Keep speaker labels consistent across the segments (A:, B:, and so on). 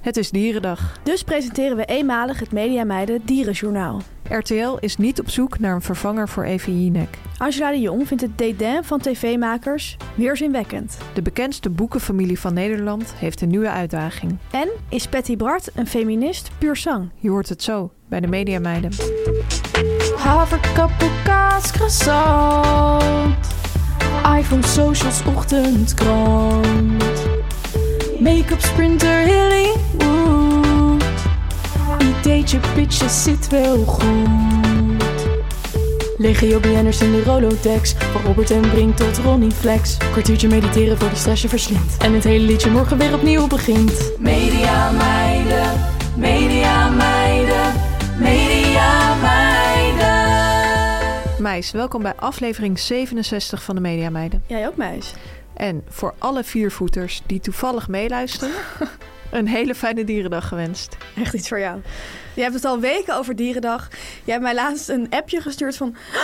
A: Het is Dierendag.
B: Dus presenteren we eenmalig het Media Meiden Dierenjournaal.
A: RTL is niet op zoek naar een vervanger voor Evi Jinek.
B: Angela de Jong vindt het dédain van tv-makers weerzinwekkend.
A: De bekendste boekenfamilie van Nederland heeft een nieuwe uitdaging.
B: En is Patty Bart een feminist puur zang?
A: Je hoort het zo bij de Media Meiden.
C: Haverkappel, kaas, croissant. iPhone, socials, ochtendkrant. Make-up, sprinter, Hollywood. Ideetje, pitje, zit wel goed. Legio BN'ers in de Rolodex. Van Robert en Brink tot Ronnie Flex. Kwartiertje mediteren voor de stress je verslindt. En het hele liedje morgen weer opnieuw begint. Media meiden, media meiden, media meiden.
A: Meis, welkom bij aflevering 67 van de Media Meiden.
B: Jij ook, meis?
A: En voor alle viervoeters die toevallig meeluisteren, een hele fijne Dierendag gewenst.
B: Echt iets voor jou. Je hebt het al weken over Dierendag. Jij hebt mij laatst een appje gestuurd van... "Ah,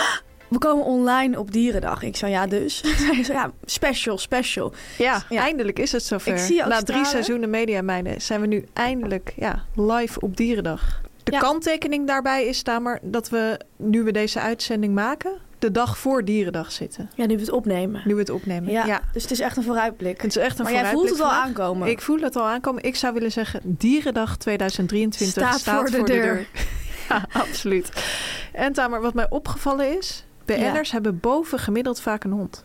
B: We komen online op Dierendag. Ik zei ja, dus. Zij zei ja, special, special.
A: Ja,
B: Ja.
A: eindelijk is het zover.
B: Ik zie ook
A: Na drie
B: stralen.
A: seizoenen Media Meiden zijn we nu eindelijk ja, live op Dierendag. De
B: Ja.
A: kanttekening daarbij is maar dat we, nu we deze uitzending maken, de dag voor Dierendag zitten.
B: Ja, nu we het opnemen.
A: Nu we het opnemen.
B: Ja, dus het is echt een vooruitblik.
A: Het is echt een
B: maar jij voelt het al
A: vooruitblik vandaag.
B: aankomen.
A: Ik voel het al aankomen. Ik zou willen zeggen, Dierendag 2023
B: Staat voor de deur.
A: ja, absoluut. En Tamer, wat mij opgevallen is, BN'ers hebben boven gemiddeld vaak een hond.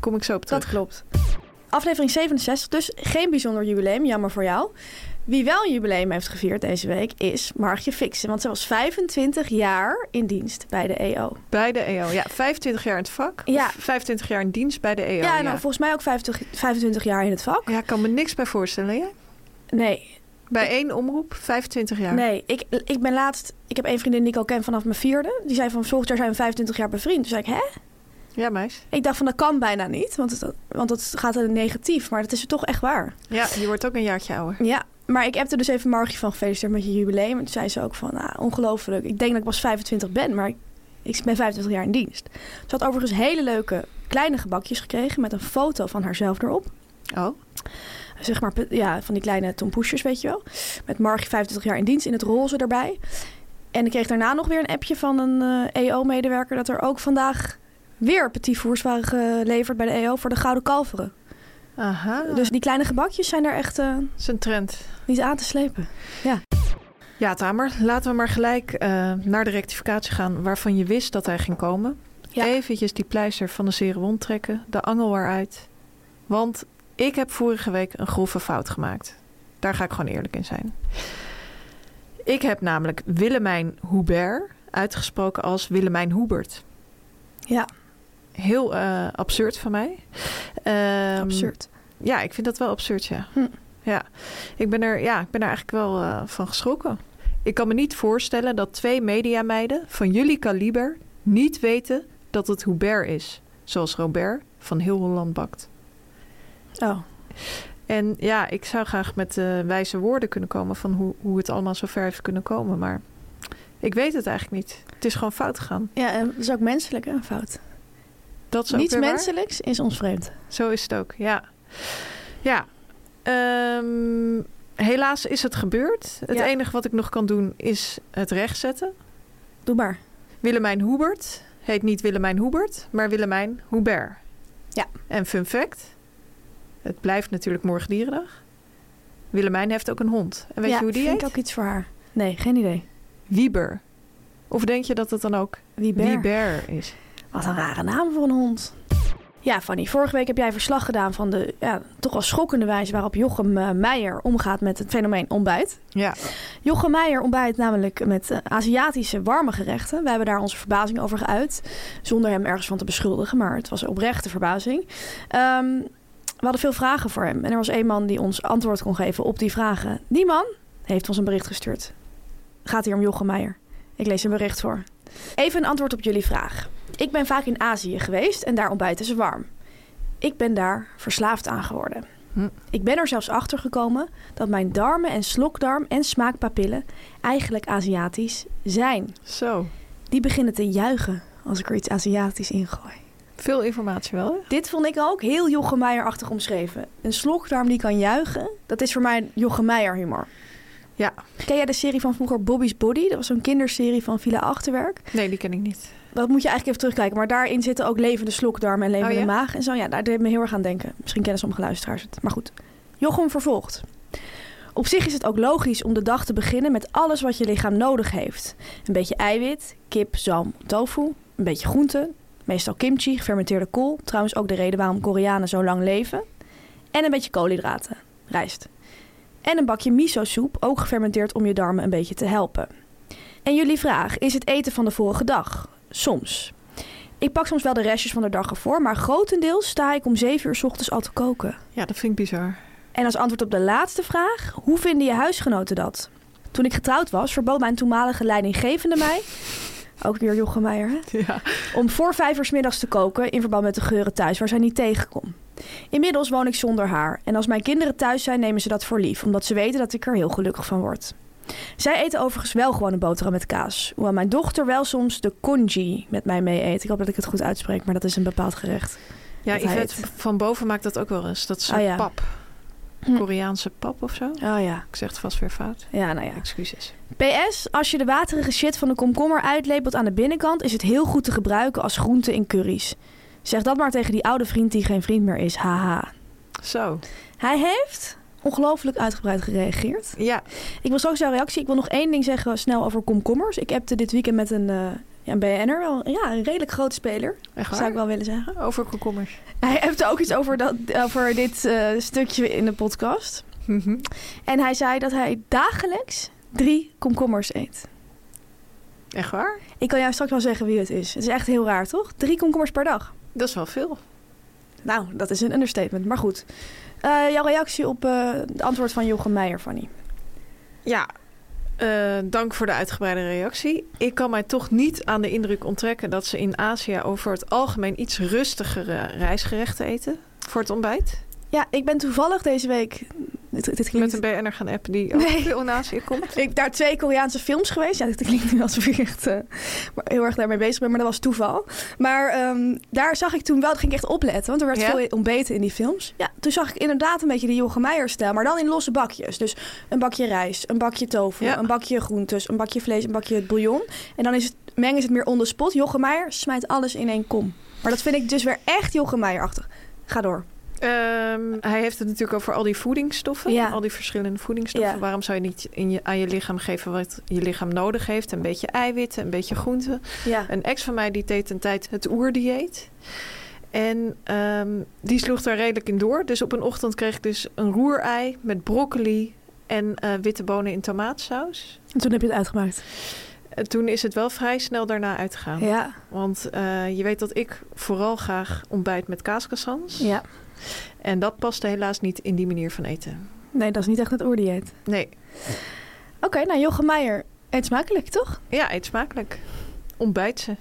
A: Kom ik zo op terug.
B: Dat klopt. Aflevering 67, dus geen bijzonder jubileum, jammer voor jou. Wie wel een jubileum heeft gevierd deze week is Margje Fixen. Want ze was 25 jaar in dienst bij de E EO.
A: Bij de EO, ja. 25 jaar in het vak.
B: Ja.
A: Of 25 jaar in dienst bij de EO.
B: ja, nou,
A: Ja,
B: en dan volgens mij ook 50, 25 jaar in het vak.
A: Ja, ik kan me niks bij voorstellen, hè?
B: Nee,
A: Bij één omroep, 25 jaar.
B: nee. Ik, ik ben laatst... Ik heb één vriendin die ik al ken vanaf mijn vierde. Die zei van, volgend jaar zijn we 25 jaar bevriend. Toen zei ik, hè?
A: Ja, meis.
B: Ik dacht van, dat kan bijna niet. Want, het, want dat gaat in het negatief. Maar dat is toch echt waar.
A: Ja, je wordt ook een jaartje ouder.
B: Ja, maar ik heb er dus even Margie van gefeliciteerd met je jubileum. En toen zei ze ook van, nou, ongelooflijk. Ik denk dat ik pas 25 ben, maar ik, ik ben 25 jaar in dienst. Ze had overigens hele leuke kleine gebakjes gekregen met een foto van haarzelf erop.
A: Oh,
B: Zeg maar, ja, van die kleine tompoesjes, weet je wel. Met Margie 25 jaar in dienst in het roze erbij. En ik kreeg daarna nog weer een appje van een EO-medewerker... dat er ook vandaag weer petit fours waren geleverd bij de EO voor de Gouden Kalveren.
A: aha. Dus
B: Dus die kleine gebakjes zijn daar echt eh,
A: dat is een trend.
B: niet aan te slepen.
A: Ja, Tamer, laten we maar gelijk eh, naar de rectificatie gaan waarvan je wist dat hij ging komen.
B: Ja.
A: Eventjes die pleister van de zere wond trekken, de angel eruit. Want ik heb vorige week een grove fout gemaakt. Daar ga ik gewoon eerlijk in zijn. Ik heb namelijk Willemijn Hubert uitgesproken als Willemijn Hubert.
B: Ja,
A: Heel eh, absurd van mij. Ehm,
B: absurd.
A: ja, ik vind dat wel absurd, ja.
B: Hm.
A: Ja. Ik ben er, ja, ik ben er eigenlijk wel eh, van geschrokken. Ik kan me niet voorstellen dat twee mediameiden van jullie kaliber niet weten dat het Hubert is. Zoals Robert van Heel Holland bakt. Mm.
B: Oh,
A: En ja, ik zou graag met eh, wijze woorden kunnen komen van hoe, hoe het allemaal zo ver heeft kunnen komen. Maar ik weet het eigenlijk niet. Het is gewoon fout gegaan.
B: ja, en dat is ook menselijk hè, een fout.
A: Dat is ook
B: Niets
A: weer waar.
B: menselijks is ons vreemd.
A: Zo is het ook, ja. Ja. Ehm, helaas is het gebeurd. Het
B: Ja.
A: enige wat ik nog kan doen is het rechtzetten.
B: Doe maar.
A: Willemijn Hubert heet niet Willemijn Hubert, maar Willemijn Hubert.
B: Ja.
A: En fun fact, het blijft natuurlijk morgen dierendag. Willemijn heeft ook een hond. En weet
B: ja,
A: je hoe die
B: vind
A: heet?
B: ik ook iets voor haar. Nee, geen idee.
A: Wieber. Of denk je dat het dan ook
B: Wie ben
A: Wieber is?
B: Wat een rare naam voor een hond. Ja, Fanny, vorige week heb jij verslag gedaan van de ja, toch wel schokkende wijze waarop Jochem eh, Meijer omgaat met het fenomeen ontbijt.
A: Ja.
B: Jochem Meijer ontbijt namelijk met eh, Aziatische warme gerechten. Wij hebben daar onze verbazing over geuit. Zonder hem ergens van te beschuldigen, maar het was een oprechte verbazing. Ehm, we hadden veel vragen voor hem. En er was één man die ons antwoord kon geven op die vragen. Die man heeft ons een bericht gestuurd. Gaat hier om Jochem Meijer. Ik lees een bericht voor. Even een antwoord op jullie vraag. Ik ben vaak in Azië geweest en daar ontbijten ze warm. Ik ben daar verslaafd aan geworden.
A: Hm.
B: Ik ben er zelfs achter gekomen dat mijn darmen en slokdarm en smaakpapillen eigenlijk Aziatisch zijn.
A: Zo.
B: Die beginnen te juichen als ik er iets Aziatisch in gooi.
A: Veel informatie wel, hè?
B: Dit vond ik ook heel Jochem Meijer-achtig omschreven. Een slokdarm die kan juichen, dat is voor mij Jochem Meijer humor.
A: Ja.
B: Ken jij de serie van vroeger Bobby's Body? Dat was zo'n kinderserie van Villa Achterwerk.
A: Nee, die ken ik niet.
B: Dat moet je eigenlijk even terugkijken. Maar daarin zitten ook levende slokdarmen en levende
A: Oh ja?
B: maag. En zo, ja, daar deed me heel erg aan denken. Misschien kennen sommige luisteraars het. Maar goed. Jochem vervolgt. Op zich is het ook logisch om de dag te beginnen met alles wat je lichaam nodig heeft. Een beetje eiwit, kip, zalm, tofu, een beetje groenten, meestal kimchi, gefermenteerde kool. Trouwens ook de reden waarom Koreanen zo lang leven. En een beetje koolhydraten, rijst. En een bakje miso-soep, ook gefermenteerd om je darmen een beetje te helpen. En jullie vraag, is het eten van de vorige dag? Soms. Ik pak soms wel de restjes van de dag ervoor, maar grotendeels sta ik om 7 uur 's ochtends al te koken.
A: Ja, dat vind ik bizar.
B: En als antwoord op de laatste vraag, hoe vinden je huisgenoten dat? Toen ik getrouwd was, verbood mijn toenmalige leidinggevende mij, ook weer Jochem Meijer, hè?
A: Ja.
B: om voor vijf uur 's middags te koken in verband met de geuren thuis waar zij niet tegen kon. Inmiddels woon ik zonder haar en als mijn kinderen thuis zijn nemen ze dat voor lief, omdat ze weten dat ik er heel gelukkig van word. Zij eten overigens wel gewoon een boterham met kaas, hoewel mijn dochter wel soms de congee met mij mee eet. Ik hoop dat ik het goed uitspreek, maar dat is een bepaald gerecht.
A: Ja,
B: Dat hij
A: Yvette van Boven maakt dat ook wel eens. Dat is
B: Oh,
A: een
B: ja.
A: pap.
B: Hm.
A: Koreaanse pap of zo.
B: Oh ja,
A: Ik zeg het vast weer fout.
B: ja nou ja.
A: Excuses.
B: PS, als je de waterige shit van de komkommer uitlepelt aan de binnenkant, is het heel goed te gebruiken als groente in curry's. Zeg dat maar tegen die oude vriend die geen vriend meer is, haha.
A: Zo.
B: Hij heeft ongelooflijk uitgebreid gereageerd.
A: Ja.
B: Ik wil straks jouw reactie. Ik wil nog één ding zeggen snel over komkommers. Ik appte dit weekend met een, eh ja, een BN'er, wel, ja, een redelijk grote speler,
A: Echt
B: zou
A: waar?
B: ik wel willen zeggen.
A: Over komkommers.
B: Hij appte ook iets over, dat, over dit eh, stukje in de podcast. Mhm. En hij zei dat hij dagelijks drie komkommers eet.
A: Echt waar?
B: Ik kan jou straks wel zeggen wie het is. Het is echt heel raar, toch? Drie komkommers per dag.
A: Dat is wel veel.
B: Nou, dat is een understatement, maar goed. Eh, jouw reactie op eh, het antwoord van Jochem Meijer, Fanny.
A: Ja, eh, dank voor de uitgebreide reactie. Ik kan mij toch niet aan de indruk onttrekken dat ze in Azië over het algemeen iets rustigere reisgerechten eten voor het ontbijt.
B: Ja, ik ben toevallig deze week... Dit, dit
A: Met
B: klinkt...
A: een BN'er gaan appen die ook
B: Nee.
A: veel in Azië komt.
B: Ik daar twee Koreaanse films geweest. Ja, dit klinkt nu alsof ik echt eh, maar heel erg daarmee bezig ben, maar dat was toeval. Maar ehm, daar zag ik toen wel, dat ging ik echt opletten, want er werd
A: Ja?
B: veel ontbeten in die films. Ja, toen zag ik inderdaad een beetje die Jochem Meijer stijl, maar dan in losse bakjes. Dus een bakje rijst, een bakje tofu,
A: Ja.
B: een bakje groentes, een bakje vlees, een bakje bouillon. En dan is het, mengen ze het meer on the spot. Jochem Meijer smijt alles in één kom. Maar dat vind ik dus weer echt Jochem Meijer-achtig. Ga door.
A: Ehm, hij heeft het natuurlijk over al die voedingsstoffen.
B: Ja.
A: Al die verschillende voedingsstoffen.
B: Ja.
A: Waarom zou je niet in je, aan je lichaam geven wat je lichaam nodig heeft? Een beetje eiwitten, een beetje groenten.
B: Ja.
A: Een ex van mij die deed een tijd het oerdieet. En ehm, die sloeg daar redelijk in door. Dus op een ochtend kreeg ik dus een roerei met broccoli en eh, witte bonen in tomaatsaus.
B: En toen heb je het uitgemaakt.
A: En toen is het wel vrij snel daarna uitgegaan.
B: Ja.
A: Want eh, je weet dat ik vooral graag ontbijt met kaaskassans.
B: ja.
A: En dat paste helaas niet in die manier van eten.
B: Nee, dat is niet echt het oerdieet.
A: Nee,
B: Oké, nou Jochem Meijer, eet smakelijk toch?
A: ja, eet smakelijk. Ontbijt ze.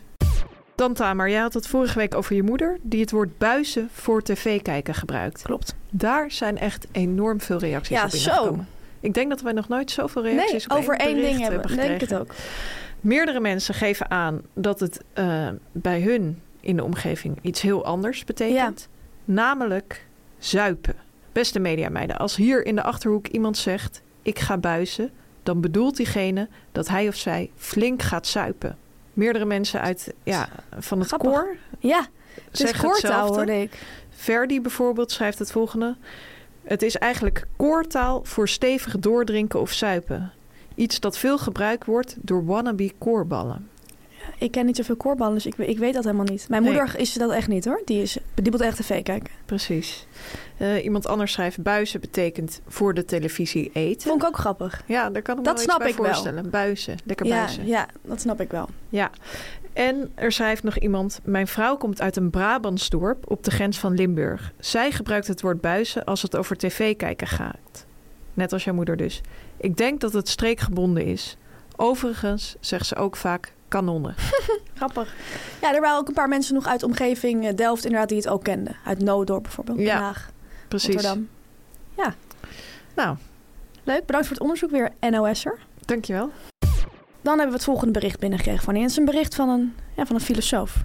A: Dan Tamer, jij had het vorige week over je moeder... die het woord buizen voor tv kijken gebruikt.
B: Klopt.
A: Daar zijn echt enorm veel reacties
B: Ja,
A: op
B: zo.
A: binnengekomen. Ik denk dat wij nog nooit zoveel reacties
B: Nee,
A: op
B: over één
A: bericht eh,
B: ding hebben.
A: gekregen.
B: Denk het ook.
A: Meerdere mensen geven aan dat het eh, bij hun in de omgeving iets heel anders betekent. Namelijk zuipen. Beste mediameiden, als hier in de Achterhoek iemand zegt... ik ga buizen, dan bedoelt diegene dat hij of zij flink gaat zuipen. Meerdere mensen uit, ja, van het
B: Grappig.
A: koor
B: Ja, het is
A: zeggen
B: koortaal
A: hetzelfde.
B: hoorde ik.
A: Verdi bijvoorbeeld schrijft het volgende. Het is eigenlijk koortaal voor stevig doordrinken of zuipen. Iets dat veel gebruikt wordt door wannabe koorballen.
B: Ik ken niet zoveel koorballen, dus ik, we- ik weet dat helemaal niet. Mijn
A: Nee.
B: moeder is dat echt niet hoor. Die, is, die moet echt tv kijken.
A: Precies. Eh, iemand anders schrijft buizen betekent voor de televisie eten.
B: Vond ik ook grappig.
A: Ja, daar kan ik me
B: Dat
A: wel
B: snap
A: iets
B: ik
A: bij
B: wel.
A: voorstellen. Buizen, lekker
B: Ja,
A: buizen.
B: ja, dat snap ik wel.
A: Ja. En er schrijft nog iemand: Mijn vrouw komt uit een Brabantsdorp op de grens van Limburg. Zij gebruikt het woord buizen als het over tv kijken gaat. Net als jouw moeder dus. Ik denk dat het streekgebonden is. Overigens zegt ze ook vaak kanonnen.
B: Grappig. Ja, er waren ook een paar mensen nog uit de omgeving eh, Delft inderdaad die het ook kenden. Uit Noodorp bijvoorbeeld,
A: Ja,
B: Den Haag,
A: Precies.
B: Rotterdam.
A: Nou,
B: Leuk, bedankt voor het onderzoek weer, NOS'er.
A: dankjewel.
B: Dan hebben we het volgende bericht binnengekregen van. En het is een bericht van een, ja, van een filosoof.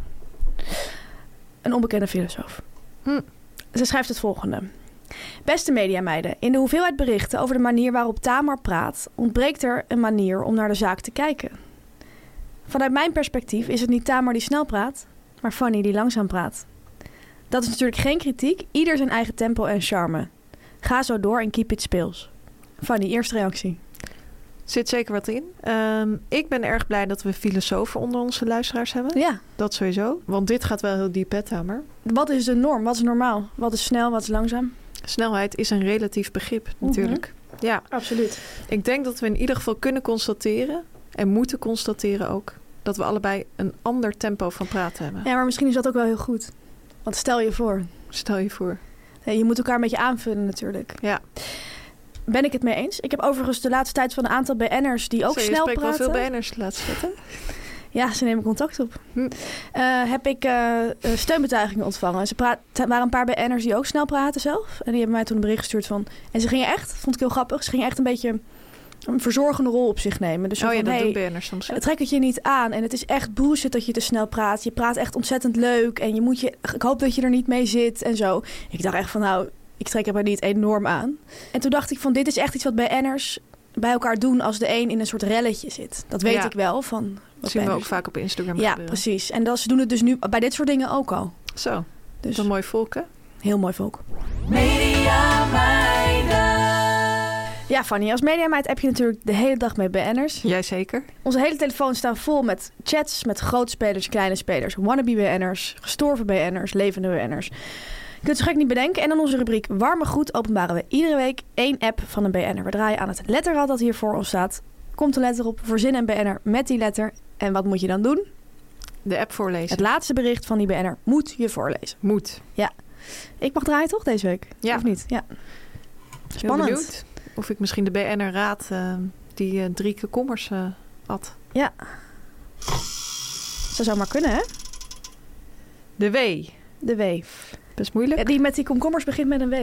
B: Een onbekende filosoof.
A: Hm.
B: Ze schrijft het volgende. Beste mediameiden, in de hoeveelheid berichten over de manier waarop Tamar praat, ontbreekt er een manier om naar de zaak te kijken. Vanuit mijn perspectief is het niet Tamar die snel praat, maar Fanny die langzaam praat. Dat is natuurlijk geen kritiek, ieder zijn eigen tempo en charme. Ga zo door en keep it speels. Fanny, eerste reactie.
A: Zit zeker wat in. Ehm, ik ben erg blij dat we filosofen onder onze luisteraars hebben.
B: Ja,
A: Dat sowieso. Want dit gaat wel heel diep, hè, Tamer?
B: wat is de norm? Wat is normaal? Wat is snel? Wat is langzaam?
A: Snelheid is een relatief begrip,
B: Mhm.
A: natuurlijk. Ja.
B: Absoluut.
A: Ik denk dat we in ieder geval kunnen constateren en moeten constateren ook dat we allebei een ander tempo van praten hebben.
B: Ja, maar misschien is dat ook wel heel goed. Want stel je voor,
A: Stel je voor.
B: Ja, Je moet elkaar een beetje aanvullen natuurlijk.
A: Ja.
B: Ben ik het mee eens? Ik heb overigens de laatste tijd van een aantal BN'ers die ook
A: Zo, je
B: snel
A: spreekt
B: praten.
A: wel veel BN'ers de laatste tijd. hè?
B: Ja, ze nemen contact op.
A: Hm.
B: Eh, heb ik eh, eh, steunbetuigingen ontvangen. Ze praat, er waren een paar BN'ers die ook snel praten zelf. En die hebben mij toen een bericht gestuurd van... En ze gingen echt, vond ik heel grappig, ze gingen echt een beetje een verzorgende rol op zich nemen. Dus zo
A: oh ja,
B: van,
A: dat
B: hey,
A: doen BN'ers soms. hè?
B: het trek het je niet aan. En het is echt bullshit dat je te snel praat. Je praat echt ontzettend leuk. En je moet je, ik hoop dat je er niet mee zit en zo. Ik dacht echt van nou, ik trek het mij niet enorm aan. En toen dacht ik van dit is echt iets wat bij enners bij elkaar doen als de een in een soort relletje zit. Dat weet
A: Ja.
B: ik wel van.
A: Dat
B: wat
A: zien we ook
B: BN'ers
A: vaak op Instagram
B: Ja,
A: gebeuren.
B: precies. En dat, ze doen het dus nu bij dit soort dingen ook al.
A: Zo, dat
B: Dus
A: is een mooi volk hè?
B: heel mooi volk.
C: Media
B: Ja, Fanny, als mediameid heb je natuurlijk de hele dag met BN'ers.
A: Jij zeker?
B: Onze hele telefoon staan vol met chats met grootspelers, kleine spelers, wannabe BN'ers, gestorven BN'ers, levende BN'ers. Je kunt het zo gek niet bedenken. En in onze rubriek Warme Goed openbaren we iedere week één app van een BN'er. We draaien aan het letterrad dat hier voor ons staat. Komt de letter op, verzin een BN'er met die letter. En wat moet je dan doen?
A: De app voorlezen.
B: Het laatste bericht van die BN'er moet je voorlezen.
A: Moet.
B: Ik mag draaien toch deze week?
A: Ja.
B: Of niet? Ja.
A: Heel
B: Spannend.
A: benieuwd of ik misschien de BN'er raad eh, die eh, drie komkommers eh at.
B: Ze zou maar kunnen, hè?
A: De W.
B: De W.
A: Best moeilijk.
B: Die met die komkommers begint met een W.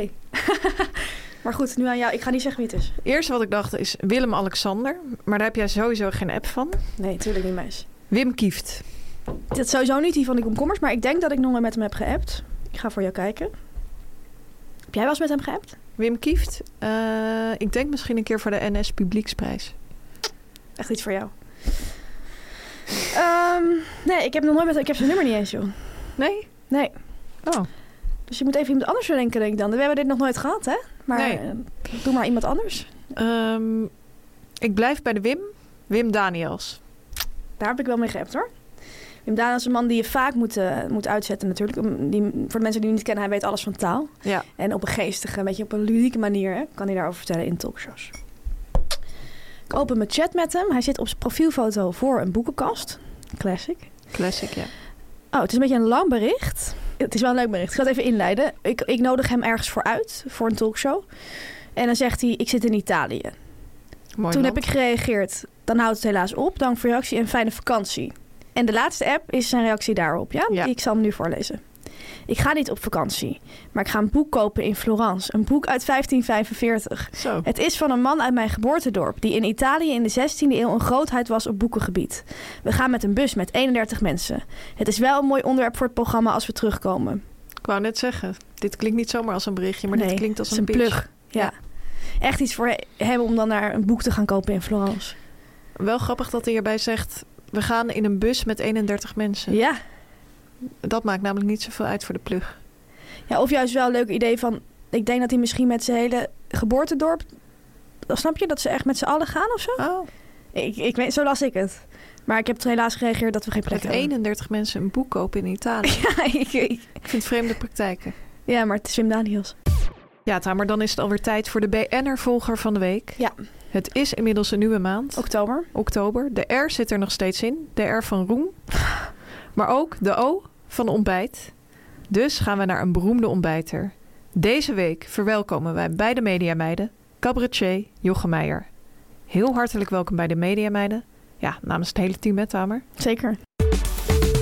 B: maar goed, nu aan jou. Ik ga niet zeggen wie het is.
A: Eerste wat ik dacht is Willem-Alexander. Maar daar heb jij sowieso geen app van.
B: Nee, natuurlijk niet, meis.
A: Wim Kieft.
B: Dat is sowieso niet die van die komkommers, maar ik denk dat ik nog wel met hem heb geappt. Ik ga voor jou kijken. Heb jij wel eens met hem geappt?
A: Wim Kieft, eh, ik denk misschien een keer voor de NS Publieksprijs.
B: Echt iets voor jou. Ehm, nee, ik heb nog nooit met Ik heb zijn nummer niet eens, joh.
A: Nee?
B: Nee.
A: Oh,
B: Dus je moet even iemand anders bedenken, denk ik dan. We hebben dit nog nooit gehad, hè? Maar
A: Nee.
B: eh, doe maar iemand anders.
A: ehm, ik blijf bij de Wim. Wim Daniels.
B: Daar heb ik wel mee geappt, hoor. Wim Daan is een man die je vaak moet, eh, moet uitzetten, natuurlijk. Om- Die, voor de mensen die hem niet kennen, hij weet alles van taal.
A: Ja.
B: En op een geestige, een beetje op een ludieke manier hè, kan hij daarover vertellen in talkshows. Ik open mijn chat met hem. Hij zit op zijn profielfoto voor een boekenkast. Classic.
A: Classic, ja.
B: Oh, het is een beetje een lang bericht. Het is wel een leuk bericht. Ik ga het even inleiden. Ik, ik nodig hem ergens voor uit, voor een talkshow. En dan zegt hij, ik zit in Italië.
A: Mooi
B: Toen
A: land.
B: heb ik gereageerd, dan houdt het helaas op. Dank voor je reactie en fijne vakantie. En de laatste app is zijn reactie daarop, ja?
A: Ja.
B: Die ik zal hem nu voorlezen. Ik ga niet op vakantie, maar ik ga een boek kopen in Florence. Een boek uit 1545.
A: Zo.
B: Het is van een man uit mijn geboortedorp, die in Italië in de 16e eeuw een grootheid was op boekengebied. We gaan met een bus met 31 mensen. Het is wel een mooi onderwerp voor het programma als we terugkomen.
A: Ik wou net zeggen, dit klinkt niet zomaar als een berichtje, maar dit
B: Nee,
A: klinkt als
B: het
A: een,
B: is een
A: pitch.
B: plug. Ja. Echt iets voor he- hem om dan naar een boek te gaan kopen in Florence.
A: Wel grappig dat hij hierbij zegt, we gaan in een bus met 31 mensen.
B: Ja.
A: Dat maakt namelijk niet zoveel uit voor de plug.
B: ja. Of juist wel een leuk idee van, ik denk dat hij misschien met zijn hele geboortedorp... Dan Snap je dat ze echt met z'n allen gaan of zo?
A: Oh,
B: Ik, ik weet, zo las ik het. Maar ik heb het helaas gereageerd dat we geen plek
A: Dat
B: hebben.
A: 31 mensen een boek kopen in Italië.
B: Ja, ik, ik-
A: Ik vind vreemde praktijken.
B: ja, maar het is Wim Daniels.
A: Ja, Tamer, dan is het alweer tijd voor de BN'er-volger van de week.
B: Ja.
A: Het is inmiddels een nieuwe maand,
B: Oktober.
A: oktober. De R zit er nog steeds in, de R van roem. Maar ook de O van ontbijt. Dus gaan we naar een beroemde ontbijter. Deze week verwelkomen wij bij de Mediameiden cabaretier Jochem Meijer. Heel hartelijk welkom bij de Mediameiden. Ja, namens het hele team, hè, Tamer?
B: Zeker.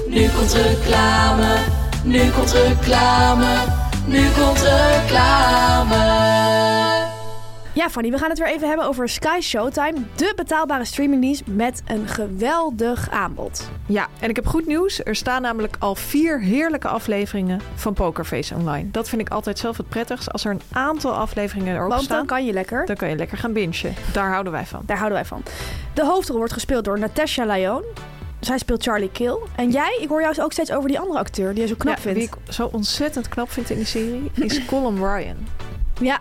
C: Nu komt reclame, nu komt reclame, nu komt reclame.
B: Ja, Fanny, we gaan het weer even hebben over Sky Showtime. De betaalbare streamingdienst met een geweldig aanbod.
A: Ja, en ik heb goed nieuws. Er staan namelijk al vier heerlijke afleveringen van Pokerface online. Dat vind ik altijd zelf het prettigst. Als er een aantal afleveringen erop
B: Want
A: staan,
B: dan kan je lekker.
A: dan kan je lekker gaan bingen. Daar houden wij van.
B: Daar houden wij van. De hoofdrol wordt gespeeld door Natasha Lyon. Zij speelt Charlie Kill. En jij, ik hoor jou ook steeds over die andere acteur die je zo knap
A: Ja,
B: vindt.
A: Wie ik zo ontzettend knap vind in die serie is Colin Ryan.
B: Ja,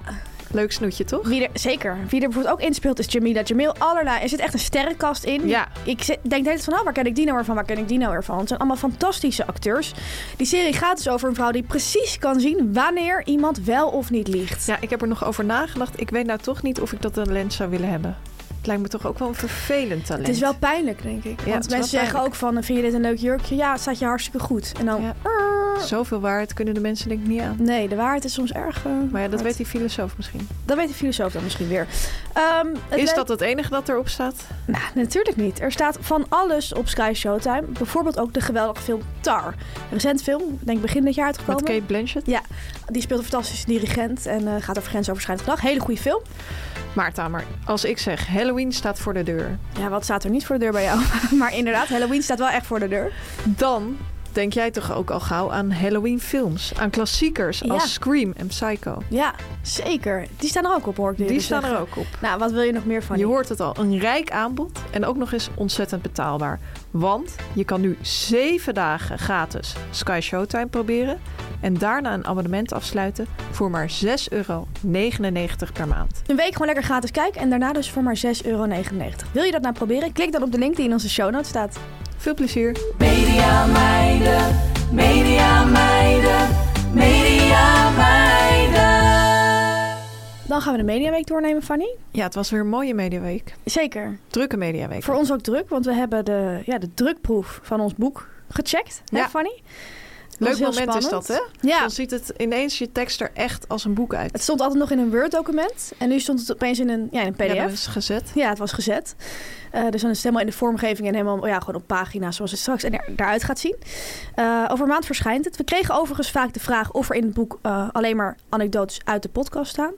A: Leuk snoetje, toch?
B: wie er, zeker. Wie er bijvoorbeeld ook inspeelt is Jamila Jamil. Allerlei. Er zit echt een sterrenkast in.
A: Ja,
B: Ik zit- denk de hele tijd van, oh, waar ken ik die nou weer van? Waar ken ik die nou weer van? Het zijn allemaal fantastische acteurs. Die serie gaat dus over een vrouw die precies kan zien wanneer iemand wel of niet liegt.
A: ja, ik heb er nog over nagedacht. Ik weet nou toch niet of ik dat talent zou willen hebben. Het lijkt me toch ook wel een vervelend talent.
B: Het is wel pijnlijk, denk ik.
A: het is
B: Want
A: wel
B: mensen zeggen
A: pijnlijk.
B: ook van, vind je dit een leuk jurkje? Ja, het staat je hartstikke goed. En dan,
A: Ja. Zoveel waarheid kunnen de mensen denk ik niet aan.
B: nee, de waarheid is soms erg... eh,
A: Maar ja, dat
B: hard.
A: weet die filosoof misschien.
B: Dat weet de filosoof dan misschien weer. Ehm, het
A: Is
B: leuk-
A: dat het enige dat erop staat?
B: Nou, natuurlijk niet. Er staat van alles op Sky Showtime. Bijvoorbeeld ook de geweldige film Tar. Een recent film, denk ik begin dit jaar
A: Met
B: uitgekomen.
A: Kate Blanchett?
B: Die speelt een fantastische dirigent en eh, gaat over grensoverschrijdend gedrag. Hele goede film.
A: Maar Tamer, als ik zeg Halloween staat voor de deur,
B: Ja, wat staat er niet voor de deur bij jou? maar inderdaad, Halloween staat wel echt voor de deur.
A: dan denk jij toch ook al gauw aan Halloween films, aan klassiekers
B: Ja.
A: als Scream en Psycho.
B: Ja, zeker. Die staan er ook op, hoor ik
A: Die
B: jullie
A: staan er
B: zeggen.
A: ook op.
B: Nou, wat wil je nog meer van?
A: Je
B: die?
A: hoort het al, een rijk aanbod en ook nog eens ontzettend betaalbaar. Want je kan nu zeven dagen gratis Sky Showtime proberen en daarna een abonnement afsluiten voor maar 6,99 euro per maand.
B: Een week gewoon lekker gratis kijken en daarna dus voor maar 6,99 euro. Wil je dat nou proberen? Klik dan op de link die in onze show notes staat.
A: Veel plezier!
C: Media meiden, media meiden, media meiden.
B: Dan gaan we de Mediaweek doornemen, Fanny.
A: Ja, het was weer een mooie mediaweek.
B: Zeker.
A: Drukke mediaweek.
B: Voor ons ook druk, want we hebben de, ja, de drukproef van ons boek gecheckt. Hè,
A: Ja.
B: Fanny? Dat
A: Leuk
B: was heel
A: moment is
B: spannend.
A: dat, hè?
B: Ja,
A: Dan ziet het ineens je tekst er echt als een boek uit.
B: het stond altijd nog in een Word-document. En nu stond het opeens in een, ja, in een
A: Ja, dat
B: PDF.
A: is gezet.
B: Ja, het was gezet. Eh, dus dan is het helemaal in de vormgeving en helemaal ja, gewoon op pagina's zoals het straks en er, eruit gaat zien. Eh, over een maand verschijnt het. We kregen overigens vaak de vraag of er in het boek eh, alleen maar anekdotes uit de podcast staan.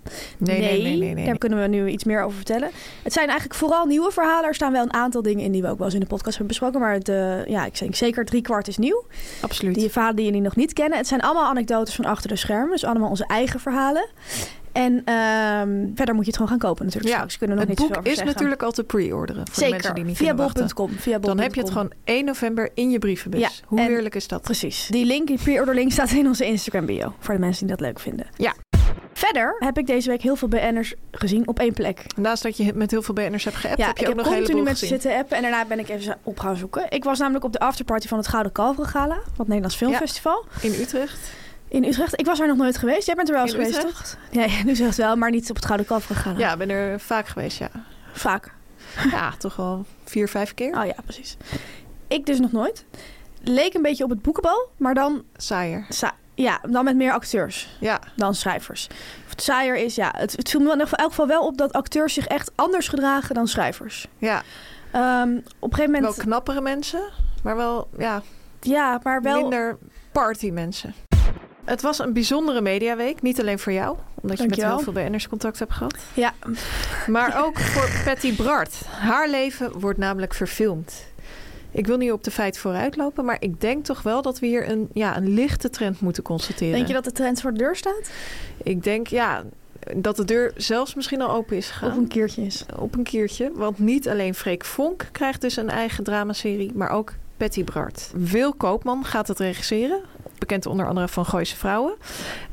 B: Daar kunnen we nu iets meer over vertellen. Het zijn eigenlijk vooral nieuwe verhalen. Er staan wel een aantal dingen in die we ook wel eens in de podcast hebben besproken. Maar de, ja, ik denk zeker drie kwart is nieuw.
A: Absoluut.
B: Die verhalen die jullie nog niet kennen. Het zijn allemaal anekdotes van achter de schermen. Dus allemaal onze eigen verhalen. En ehm, verder moet je het gewoon gaan kopen natuurlijk.
A: Ja,
B: straks kunnen we nog
A: het
B: niet
A: boek
B: zoveel
A: is
B: over zeggen.
A: natuurlijk al te pre-orderen. Voor de mensen die
B: Zeker,
A: niet
B: via
A: kunnen wachten.
B: bol.com. Via bol.com.
A: Dan heb je het gewoon 1 november in je brievenbus.
B: Ja,
A: Hoe
B: en-
A: heerlijk is dat?
B: Precies. Die link, die pre-order link, staat in onze Instagram bio. Voor de mensen die dat leuk vinden.
A: Ja.
B: Verder heb ik deze week heel veel BN'ers gezien op één plek.
A: Naast dat je met heel veel BN'ers hebt geappt,
B: Ja,
A: heb je
B: ik
A: ook
B: heb
A: nog een
B: continu
A: heleboel
B: met ze
A: gezien.
B: zitten appen en daarna ben ik even op gaan zoeken. Ik was namelijk op de afterparty van het Gouden Kalveren Gala, wat Nederlands Filmfestival
A: In Utrecht.
B: in Utrecht. Ik was daar nog nooit geweest. Jij bent er wel eens
A: In
B: geweest,
A: Utrecht?
B: toch? Ja, ja, nu zegt wel, maar niet op het Gouden Kalveren Gala.
A: Ja, ik ben er vaak geweest, ja.
B: Vaak.
A: Ja, toch wel vier, vijf keer.
B: Oh ja, precies. Ik dus nog nooit. Leek een beetje op het boekenbal, maar dan,
A: Saaier.
B: sa- ja, dan met meer acteurs.
A: Ja,
B: dan schrijvers. Of het saaier is, ja. Het, het viel me in elk geval wel op dat acteurs zich echt anders gedragen dan schrijvers.
A: ja.
B: Ehm, op een gegeven
A: wel
B: moment,
A: knappere mensen, maar wel ja,
B: ja, maar wel.
A: minder party mensen. Het was een bijzondere mediaweek, niet alleen voor jou, omdat je
B: Dankjewel.
A: met heel veel BN'ers contact hebt gehad.
B: Ja,
A: Maar ook voor Patty Bart. Haar leven wordt namelijk verfilmd. Ik wil niet op de feit vooruitlopen, maar ik denk toch wel dat we hier een, ja, een lichte trend moeten constateren.
B: denk je dat de trend voor de deur staat?
A: Ik denk ja, dat de deur zelfs misschien al open is gegaan.
B: Of een keertje is.
A: Op een keertje. Want niet alleen Freek Vonk krijgt dus een eigen dramaserie, maar ook Patty Bart. Wil Koopman gaat het regisseren. bekend onder andere van Gooise Vrouwen.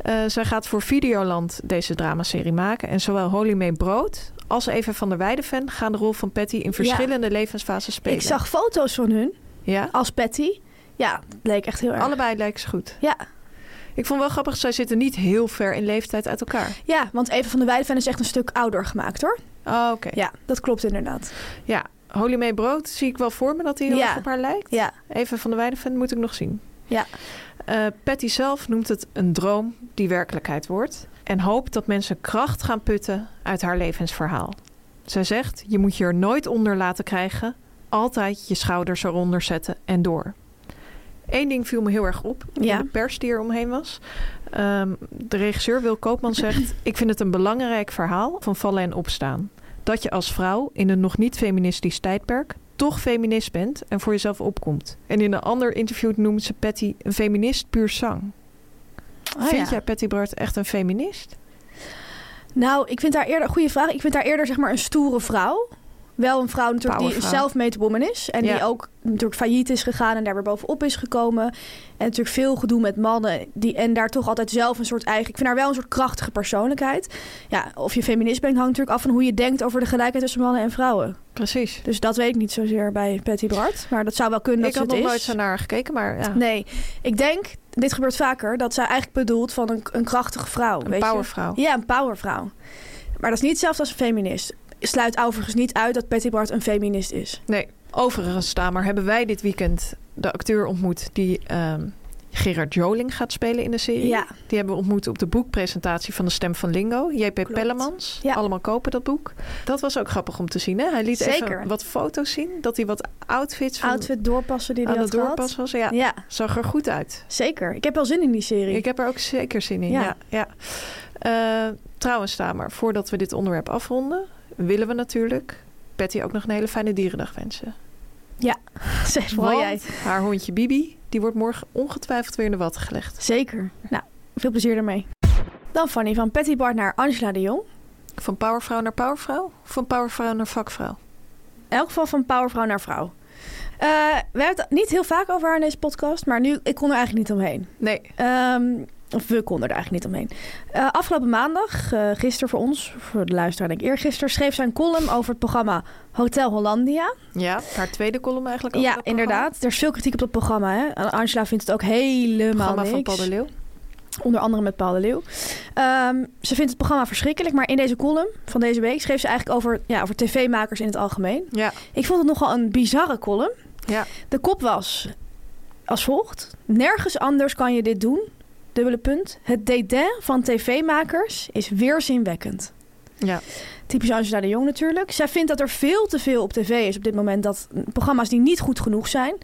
A: Eh, zij gaat voor Videoland deze dramaserie maken. En zowel Holy May Brood als Eva van der Weijden-fan gaan de rol van Patty in verschillende levensfases spelen.
B: Ik zag foto's van hun
A: Ja,
B: als Patty. Ja, het leek echt heel erg.
A: allebei lijken ze goed.
B: Ja.
A: Ik vond wel grappig, zij zitten niet heel ver in leeftijd uit elkaar.
B: ja, want Eva van der Weijden is echt een stuk ouder gemaakt hoor.
A: Oh, oké. Ja.
B: Ja, dat klopt inderdaad.
A: Holy May Brood zie ik wel voor me dat hij heel
B: Ja.
A: erg op haar lijkt.
B: Ja,
A: Even van de Weijden-fan moet ik nog zien.
B: Ja.
A: Eh, Patty zelf noemt het een droom die werkelijkheid wordt. En hoopt dat mensen kracht gaan putten uit haar levensverhaal. Zij zegt, je moet je er nooit onder laten krijgen. Altijd je schouders eronder zetten en door. Eén ding viel me heel erg op in
B: Ja.
A: de pers die er omheen was. Ehm, de regisseur Wil Koopman zegt... ik vind het een belangrijk verhaal van vallen en opstaan. Dat je als vrouw in een nog niet feministisch tijdperk... toch feminist bent en voor jezelf opkomt. En in een ander interview noemt ze Patty een feminist puur zang.
B: Ah,
A: vind
B: ja.
A: jij Patty Bart echt een feminist?
B: Nou, ik vind haar eerder, goede vraag, ik vind haar eerder zeg maar een stoere vrouw. Wel een vrouw natuurlijk die
A: Powervrouw.
B: zelf made woman is. En die
A: Ja.
B: ook natuurlijk failliet is gegaan en daar weer bovenop is gekomen. En natuurlijk veel gedoe met mannen. Die, en daar toch altijd zelf een soort eigen... Ik vind haar wel een soort krachtige persoonlijkheid. Ja, of je feminist bent hangt natuurlijk af van hoe je denkt over de gelijkheid tussen mannen en vrouwen.
A: Precies.
B: Dus dat weet ik niet zozeer bij Patty Bart. Maar dat zou wel kunnen dat
A: ik
B: ze
A: had
B: het
A: nog
B: is.
A: nooit zo naar haar gekeken, maar ja.
B: Nee, ik denk, dit gebeurt vaker, dat zij eigenlijk bedoelt van een, een krachtige vrouw.
A: een
B: weet je?
A: powervrouw.
B: Ja, een powervrouw. Maar dat is niet hetzelfde als een feminist. Sluit overigens niet uit dat Patty Bart een feminist is.
A: Nee. Overigens, Tamer, hebben wij dit weekend de acteur ontmoet die ehm, Gerard Joling gaat spelen in de serie.
B: Ja.
A: Die hebben we ontmoet op de boekpresentatie van De Stem van Lingo. JP Pellemans.
B: Ja.
A: Allemaal kopen dat boek. Dat was ook grappig om te zien. Hè? Hij liet
B: Zeker.
A: even wat foto's zien. Dat hij wat outfits van
B: Outfit doorpassen die hij
A: aan
B: had
A: het
B: gehad.
A: doorpas was. Ja,
B: Ja,
A: zag er goed uit.
B: zeker. Ik heb wel zin in die serie.
A: Ik heb er ook zeker zin in.
B: Ja.
A: Ja. Ja, Eh, trouwens, Tamer, voordat we dit onderwerp afronden, willen we natuurlijk Patty ook nog een hele fijne dierendag wensen.
B: zeg wel
A: Want
B: jij.
A: haar hondje Bibi, die wordt morgen ongetwijfeld weer in de watten gelegd.
B: Zeker. Nou, veel plezier daarmee. Dan Fanny, van Patty Bart naar Angela de Jong.
A: Van powervrouw naar powervrouw? Of Van powervrouw naar vakvrouw?
B: In elk geval van powervrouw naar vrouw. Eh, we hebben het niet heel vaak over haar in deze podcast, maar nu, ik kon er eigenlijk niet omheen.
A: Nee,
B: Ehm, of we konden er eigenlijk niet omheen. Eh, afgelopen maandag, eh gisteren voor ons, voor de luisteraar denk ik eergisteren, schreef zij een column over het programma Hotel Hollandia.
A: ja, haar tweede column eigenlijk. over
B: ja,
A: dat programma.
B: inderdaad. Er is veel kritiek op dat programma. Hè? En Angela vindt het ook helemaal
A: Programma van
B: niks.
A: Paul de Leeuw.
B: Onder andere met Paul de Leeuw. Ehm, ze vindt het programma verschrikkelijk, maar in deze column van deze week schreef ze eigenlijk over, ja, over tv-makers in het algemeen.
A: Ja,
B: Ik vond het nogal een bizarre column.
A: Ja.
B: De kop was als volgt. Nergens anders kan je dit doen. Dubbele punt. Het dédain van tv-makers is weerzinwekkend.
A: ja.
B: Typisch Angela de Jong natuurlijk. Zij vindt dat er veel te veel op tv is op dit moment. Dat programma's die niet goed genoeg zijn.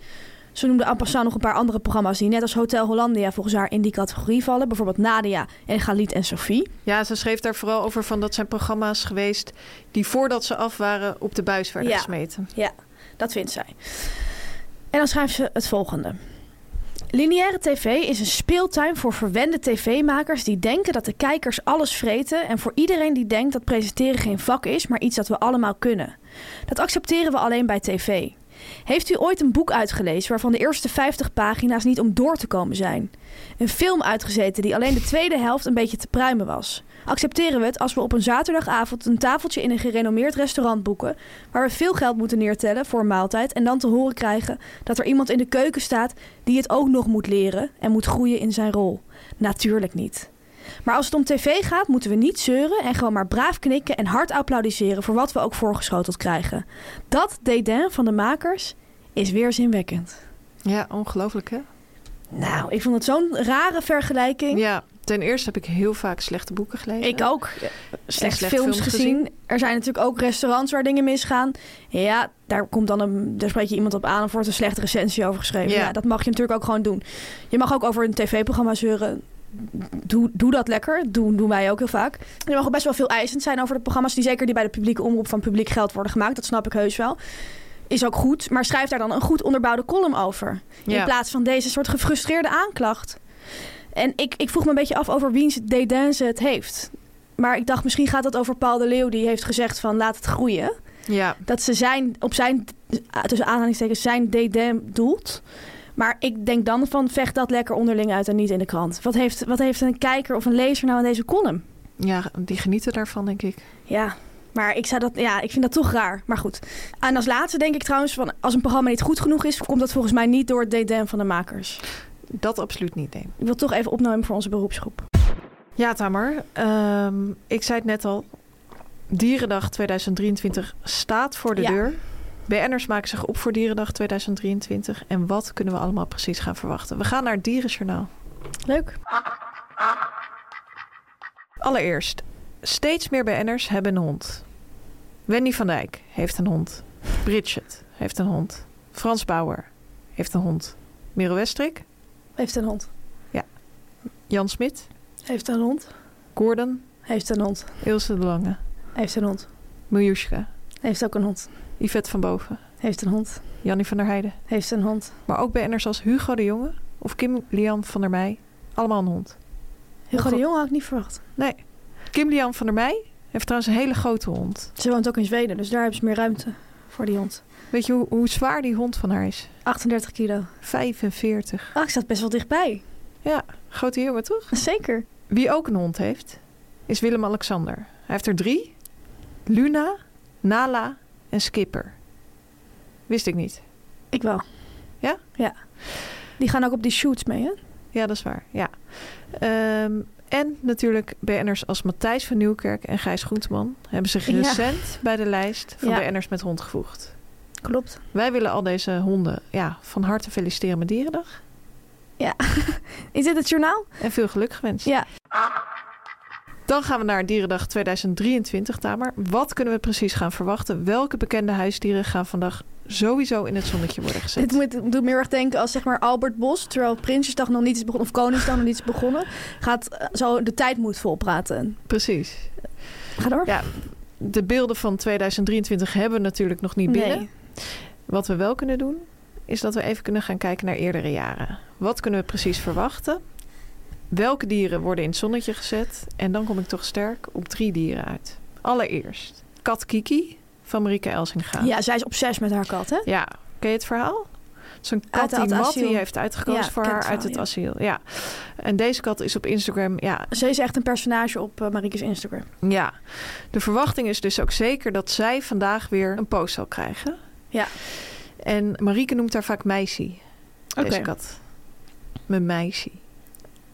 B: Ze noemde en passant nog een paar andere programma's die net als Hotel Hollandia volgens haar in die categorie vallen. Bijvoorbeeld Nadia en Galit en Sophie.
A: ja, ze schreef daar vooral over van dat zijn programma's geweest die voordat ze af waren op de buis werden
B: Ja.
A: gesmeten.
B: Dat vindt zij. En dan schrijft ze het volgende. Lineaire tv is een speeltuin voor verwende tv-makers die denken dat de kijkers alles vreten en voor iedereen die denkt dat presenteren geen vak is, maar iets dat we allemaal kunnen. Dat accepteren we alleen bij tv. Heeft u ooit een boek uitgelezen waarvan de eerste 50 pagina's niet om door te komen zijn? Een film uitgezeten die alleen de tweede helft een beetje te pruimen was? Accepteren we het als we op een zaterdagavond een tafeltje in een gerenommeerd restaurant boeken, waar we veel geld moeten neertellen voor een maaltijd en dan te horen krijgen dat er iemand in de keuken staat die het ook nog moet leren en moet groeien in zijn rol? Natuurlijk niet. Maar als het om tv gaat, moeten we niet zeuren en gewoon maar braaf knikken en hard applaudisseren voor wat we ook voorgeschoteld krijgen. Dat dédain van de makers is weerzinwekkend.
A: Ja, ongelooflijk hè?
B: Nou, ik vond het zo'n rare vergelijking.
A: Ja, ten eerste heb ik heel vaak slechte boeken gelezen.
B: Ik ook. Slecht,
A: slecht
B: films
A: films
B: gezien. Er zijn natuurlijk ook restaurants waar dingen misgaan. Ja, daar komt dan een, daar spreek je iemand op aan en er wordt een slechte recensie over geschreven. Ja.
A: Ja.
B: dat mag je natuurlijk ook gewoon doen. Je mag ook over een tv-programma zeuren. Doe, doe dat lekker. Doen, doen wij ook heel vaak. Je mag ook best wel veel eisend zijn over de programma's. Die zeker die bij de publieke omroep van publiek geld worden gemaakt. Dat snap ik heus wel. Is ook goed. Maar schrijf daar dan een goed onderbouwde column over. In
A: Ja.
B: plaats van deze soort gefrustreerde aanklacht. En ik, ik vroeg me een beetje af over wiens dédain ze het heeft. Maar ik dacht, misschien gaat dat over Paul de Leeuw... die heeft gezegd van laat het groeien.
A: Ja,
B: eh, Dat ze zijn, op zijn, tussen aanhalingstekens, zijn dédain doelt. Maar ik denk dan van vecht dat lekker onderling uit en niet in de krant. Wat heeft, wat heeft een kijker of een lezer nou aan deze column?
A: Ja, die genieten daarvan, denk ik.
B: Ja, maar ik, zou dat, ja, ik vind dat toch raar. Maar goed. En als laatste denk ik trouwens, van, als een programma niet goed genoeg is... komt dat volgens mij niet door het DDM van de makers.
A: Dat absoluut niet, nee.
B: Ik wil toch even opnemen voor onze beroepsgroep.
A: Ja, Tamer. ehm, ik zei het net al. Dierendag 2023 staat voor de
B: Ja.
A: deur. BN'ers maken zich op voor Dierendag 2023. En wat kunnen we allemaal precies gaan verwachten? We gaan naar het Dierenjournaal.
B: Leuk.
A: Allereerst, steeds meer BN'ers hebben een hond. Wendy van Dijk heeft een hond. Bridget heeft een hond. Frans Bauer heeft een hond. Merel Westrik,
B: Heeft een hond.
A: Jan Smit,
B: Heeft een hond.
A: Gordon,
B: Heeft een hond.
A: Ilse de Lange,
B: Heeft een hond.
A: Miljushka,
B: Heeft ook een hond.
A: Yvette van Boven,
B: Heeft een hond.
A: Jannie van der Heijden.
B: Heeft een hond.
A: Maar ook BN'ers als Hugo de Jonge of Kim Lian van der Meij. Allemaal een hond.
B: Hugo de Jong had ik niet verwacht.
A: Kim Lian van der Meij heeft trouwens een hele grote hond.
B: Ze woont ook in Zweden, dus daar hebben ze meer ruimte voor die hond.
A: Weet je hoe, hoe zwaar die hond van haar is?
B: 38 kilo.
A: 45.
B: Ah, ik zat best wel dichtbij.
A: Grote jongen, toch?
B: Zeker.
A: Wie ook een hond heeft, is Willem-Alexander. Hij heeft er drie. Luna, Nala en Skipper. Wist ik niet.
B: Ik wel.
A: Ja?
B: Ja. Die gaan ook op die shoots mee, hè?
A: Ja, dat is waar. Ja. Ehm, en natuurlijk BN'ers als Matthijs van Nieuwkerk en Gijs Groenteman... hebben zich
B: Ja.
A: recent bij de lijst van
B: Ja.
A: BN'ers met hond gevoegd.
B: Klopt.
A: Wij willen al deze honden ja, van harte feliciteren met Dierendag.
B: Is dit het journaal?
A: En veel geluk gewenst.
B: Ja.
A: Dan gaan we naar Dierendag 2023, Tamer. Wat kunnen we precies gaan verwachten? Welke bekende huisdieren gaan vandaag sowieso in het zonnetje worden gezet?
B: Dit moet, doet me heel erg denken als zeg maar Albert Bos, terwijl Prinsjesdag nog niet is begonnen, of Koningsdag nog niet is begonnen, gaat eh, zo de tijd moet volpraten.
A: Precies.
B: Ga door.
A: Ja, De beelden van 2023 hebben we natuurlijk nog niet binnen.
B: nee.
A: Wat we wel kunnen doen, is dat we even kunnen gaan kijken naar eerdere jaren. Wat kunnen we precies verwachten? Welke dieren worden in het zonnetje gezet? En dan kom ik toch sterk op drie dieren uit. Allereerst Kat Kiki van Marieke Elsinga.
B: Ja, zij is obsess met haar kat, hè?
A: Ja, ken je het verhaal? Zo'n kat
B: Uit
A: die
B: het asiel.
A: Mattie heeft uitgekozen
B: Ja,
A: voor
B: ik ken
A: haar
B: het
A: uit het asiel.
B: verhaal,
A: Ja. En deze kat is op Instagram ja,
B: Ze is echt een personage op eh, Marieke's Instagram.
A: Ja, de verwachting is dus ook zeker dat zij vandaag weer een post zal krijgen.
B: Ja.
A: En Marieke noemt haar vaak meisje. Deze
B: Oké.
A: kat. Mijn meisje.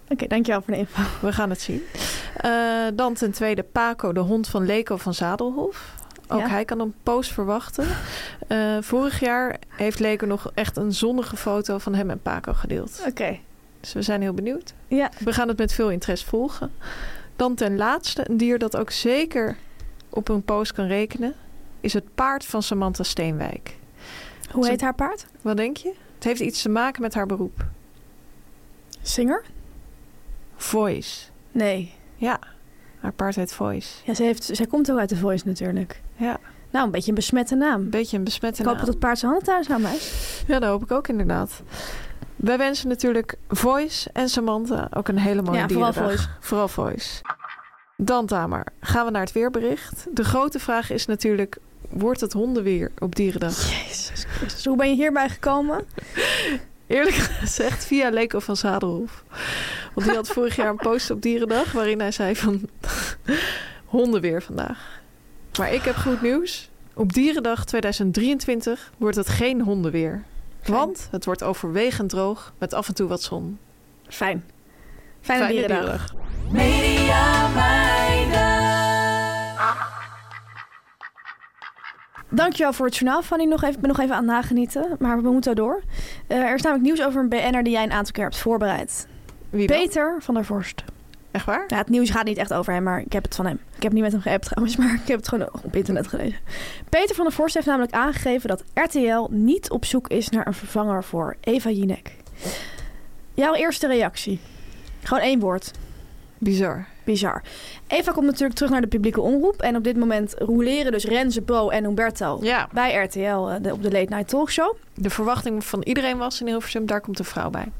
B: Oké, dankjewel voor de info.
A: We gaan het zien. Eh, dan ten tweede Paco, de hond van Leko van Zadelhof. Ook
B: Ja.
A: hij kan een post verwachten. Eh, vorig jaar heeft Leko nog echt een zonnige foto van hem en Paco gedeeld.
B: Oké.
A: Dus we zijn heel benieuwd.
B: Ja.
A: We gaan het met veel interesse volgen. Dan ten laatste, een dier dat ook zeker op een post kan rekenen, is het paard van Samantha Steenwijk.
B: Hoe
A: Ze-
B: heet haar paard?
A: Wat denk je? Het heeft iets te maken met haar beroep.
B: Singer?
A: Voice.
B: Nee.
A: Ja, haar paard heet Voice.
B: Ja, ze heeft, zij komt ook uit de Voice natuurlijk.
A: Ja.
B: Nou, een beetje een besmette naam.
A: Een beetje een besmette
B: Ik hoop dat
A: naam.
B: het paard zijn handen thuis aan mij.
A: Ja, dat hoop ik ook inderdaad. Wij wensen natuurlijk Voice en Samantha ook een hele mooie
B: Ja, vooral
A: dierendag. Vooral Voice. Dan Tamer, gaan we naar het weerbericht. De grote vraag is natuurlijk, wordt het hondenweer op Dierendag?
B: Jezus Christus. Hoe ben je hierbij gekomen?
A: Eerlijk gezegd, via Leko van Zadelhof. Want die had vorig jaar een post op Dierendag... waarin hij zei van hondenweer vandaag. Maar ik heb goed nieuws. Op Dierendag 2023 wordt het geen hondenweer. Want het wordt overwegend droog met af en toe wat zon.
B: Fijn. Fijne,
A: Fijne
B: dierendag.
A: dierendag.
B: Dankjewel voor het journaal, Fanny. Nog even, ik ben nog even aan het nagenieten, maar we moeten door. Eh, er is namelijk nieuws over een BN'er die jij een aantal keer hebt voorbereid.
A: Wie dan?
B: Peter van der Vorst.
A: Echt waar?
B: Ja, het nieuws gaat niet echt over hem, maar ik heb het van hem. Ik heb niet met hem geappt trouwens, maar ik heb het gewoon op internet gelezen. Peter van der Vorst heeft namelijk aangegeven dat RTL niet op zoek is naar een vervanger voor Eva Jinek. Jouw eerste reactie? Gewoon één woord.
A: Bizar.
B: Bizar. Eva komt natuurlijk terug naar de publieke omroep. En op dit moment rouleren dus Renze, Bo en Humberto
A: Ja,
B: bij RTL eh, de- op de Late Night Talkshow.
A: de verwachting van iedereen was in Hilversum... daar komt een vrouw bij.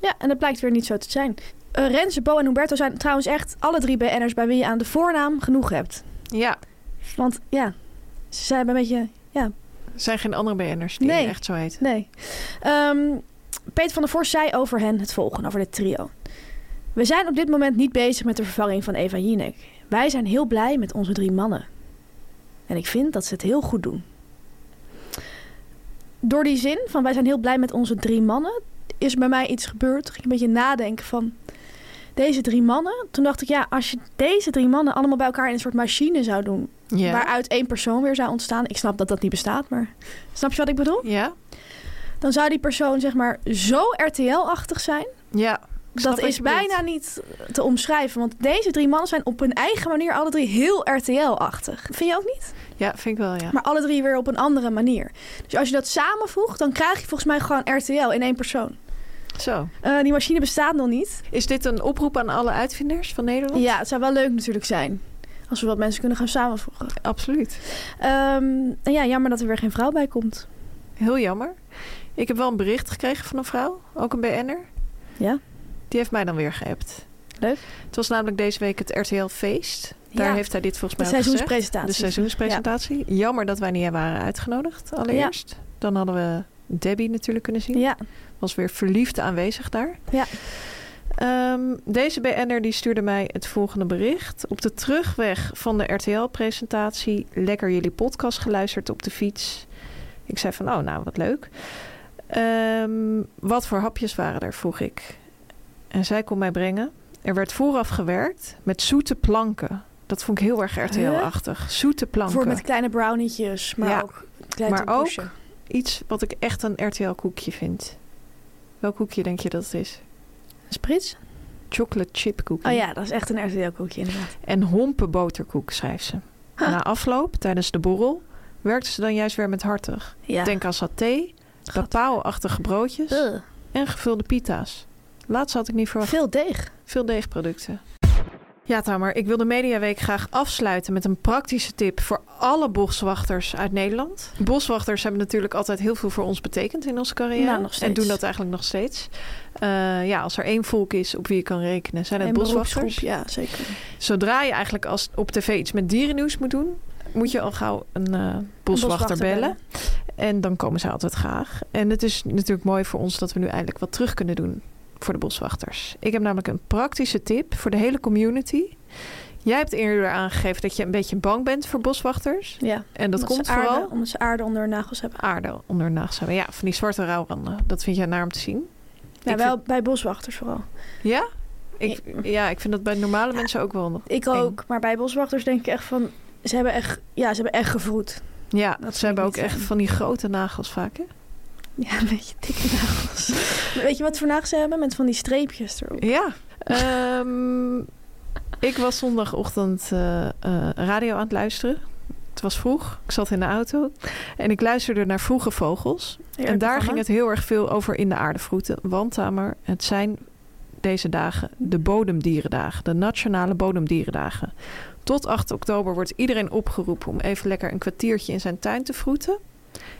B: Ja, en dat blijkt weer niet zo te zijn. Eh Renze, Bo en Humberto zijn trouwens echt alle drie BN'ers bij wie je aan de voornaam genoeg hebt.
A: Ja,
B: Want ja, ze zijn een beetje...
A: er zijn geen andere BN'ers die
B: Nee.
A: echt zo heet.
B: Nee. Ehm, Peter van der Vorst zei over hen het volgende, over dit trio. We zijn op dit moment niet bezig met de vervanging van Eva Jinek. Wij zijn heel blij met onze drie mannen. En ik vind dat ze het heel goed doen. Door die zin van wij zijn heel blij met onze drie mannen, is bij mij iets gebeurd. Toen ging ik een beetje nadenken van deze drie mannen. Toen dacht ik, ja, als je deze drie mannen allemaal bij elkaar in een soort machine zou doen,
A: Ja.
B: waaruit één persoon weer zou ontstaan. Ik snap dat dat niet bestaat, maar snap je wat ik bedoel?
A: Ja.
B: Dan zou die persoon zeg maar zo RTL-achtig zijn.
A: Ja. Ik snap
B: Dat
A: wat
B: is
A: je bedoelt.
B: bijna niet te omschrijven. Want deze drie mannen zijn op hun eigen manier alle drie heel RTL-achtig. Vind je ook niet?
A: Ja, vind ik wel, ja.
B: Maar alle drie weer op een andere manier. Dus als je dat samenvoegt, dan krijg je volgens mij gewoon RTL in één persoon.
A: Zo.
B: Eh, die machine bestaat nog niet.
A: Is dit een oproep aan alle uitvinders van Nederland?
B: Ja, het zou wel leuk natuurlijk zijn. Als we wat mensen kunnen gaan samenvoegen.
A: Absoluut.
B: Ehm, en ja, jammer dat er weer geen vrouw bij komt.
A: Heel jammer. Ik heb wel een bericht gekregen van een vrouw, ook een BN'er. nou,
B: Ja?
A: Die heeft mij dan weer geappt.
B: Leuk.
A: Het was namelijk deze week het RTL Feest. Daar
B: Ja.
A: heeft hij dit volgens
B: De
A: mij ook gezegd.
B: seizoenspresentatie.
A: De seizoenspresentatie. Jammer dat wij niet waren uitgenodigd allereerst. Dan hadden we Debbie natuurlijk kunnen zien.
B: Ja,
A: Was weer verliefd aanwezig daar.
B: Ja.
A: Ehm, deze BN'er die stuurde mij het volgende bericht. Op de terugweg van de RTL-presentatie... lekker jullie podcast geluisterd op de fiets. Ik zei van, oh nou, wat leuk. Ehm, wat voor hapjes waren er, vroeg ik. En zij kon mij brengen. Er werd vooraf gewerkt met zoete planken. Dat vond ik heel erg RTL-achtig. Zoete planken.
B: voor met kleine brownietjes, maar
A: Ja.
B: ook kleine
A: Maar ook-
B: tompoesje.
A: Iets wat ik echt een RTL-koekje vind. Welk koekje denk je dat het is?
B: Sprits?
A: Chocolate chip koekje.
B: Oh ja, dat is echt een RTL-koekje inderdaad.
A: En hompen boterkoek, schrijft ze.
B: Huh.
A: Na afloop, tijdens de borrel, werkte ze dan juist weer met hartig.
B: Ja.
A: Denk aan saté, papao-achtige broodjes
B: Ugh.
A: en gevulde pita's. Laatst had ik niet verwacht.
B: Veel deeg.
A: Veel deegproducten. Ja, Tamer, ik wil de Mediaweek graag afsluiten met een praktische tip voor alle boswachters uit Nederland. Boswachters hebben natuurlijk altijd heel veel voor ons betekend in onze carrière.
B: Nou, nog steeds.
A: En doen dat eigenlijk nog steeds. Eh, ja, als er één volk is op wie je kan rekenen, zijn het
B: Een beroepsgroep,
A: boswachters.
B: ja, zeker.
A: Zodra je eigenlijk als op tv iets met dierennieuws moet doen, moet je al gauw een eh, boswachter bellen. En dan komen ze altijd graag. En het is natuurlijk mooi voor ons dat we nu eindelijk wat terug kunnen doen voor de boswachters. Ik heb namelijk een praktische tip voor de hele community. Jij hebt eerder aangegeven dat je een beetje bang bent voor boswachters.
B: Ja.
A: En dat
B: omdat
A: komt
B: ze aarde,
A: vooral
B: Omdat ze aarde onder hun nagels hebben.
A: aarde onder hun nagels hebben. Ja, van die zwarte rouwranden. Dat vind jij naar om te zien.
B: Ja,
A: Ik
B: wel bij boswachters vooral.
A: Ja? Ik, ja, ik vind dat bij normale mensen ook wel.
B: Ik ook, maar bij boswachters denk ik echt van... Ze hebben echt, ja, ze hebben echt gevroed.
A: Ja,
B: vind
A: ze hebben
B: ik
A: ook
B: niet
A: echt
B: fijn.
A: van die grote nagels vaak. Hè?
B: Ja, een beetje dikke nagels. Maar weet je wat voor nagels ze hebben? Met van die streepjes erop.
A: Ja. Ehm, ik was zondagochtend eh, eh, radio aan het luisteren. Het was vroeg. Ik zat in de auto. En ik luisterde naar vroege vogels. en daar ging het heel erg veel over in de aardevroeten. Want Tamer, het zijn deze dagen de bodemdierendagen. De nationale bodemdierendagen. Tot 8 oktober wordt iedereen opgeroepen om even lekker een kwartiertje in zijn tuin te vroeten.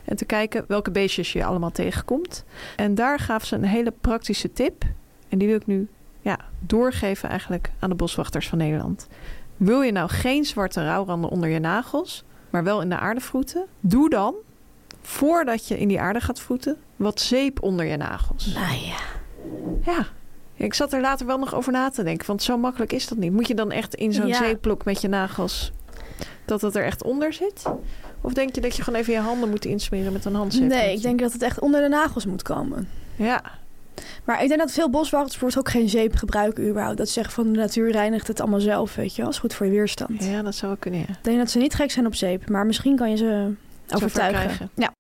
A: En te kijken welke beestjes je allemaal tegenkomt. En daar gaf ze een hele praktische tip. En die wil ik nu ja, doorgeven eigenlijk aan de boswachters van Nederland. Wil je nou geen zwarte rouwranden onder je nagels, maar wel in de aarde vroeten? Doe dan, voordat je in die aarde gaat vroeten, wat zeep onder je nagels.
B: Nou ja.
A: Ja, ik zat er later wel nog over na te denken, want zo makkelijk is dat niet. Moet je dan echt in zo'n
B: Ja.
A: zeepblok met je nagels, dat dat er echt onder zit? Of denk je dat je gewoon even je handen moet insmeren met een handzeep?
B: Nee, ik denk dat het echt onder de nagels moet komen.
A: Ja,
B: Maar ik denk dat veel boswachters bijvoorbeeld ook geen zeep gebruiken überhaupt. Dat ze zeggen van de natuur reinigt het allemaal zelf, weet je wel. is goed voor je weerstand.
A: ja, dat zou wel kunnen, ja.
B: Ik denk dat ze niet gek zijn op zeep, maar misschien kan je ze overtuigen.
A: krijgen.
B: Ja.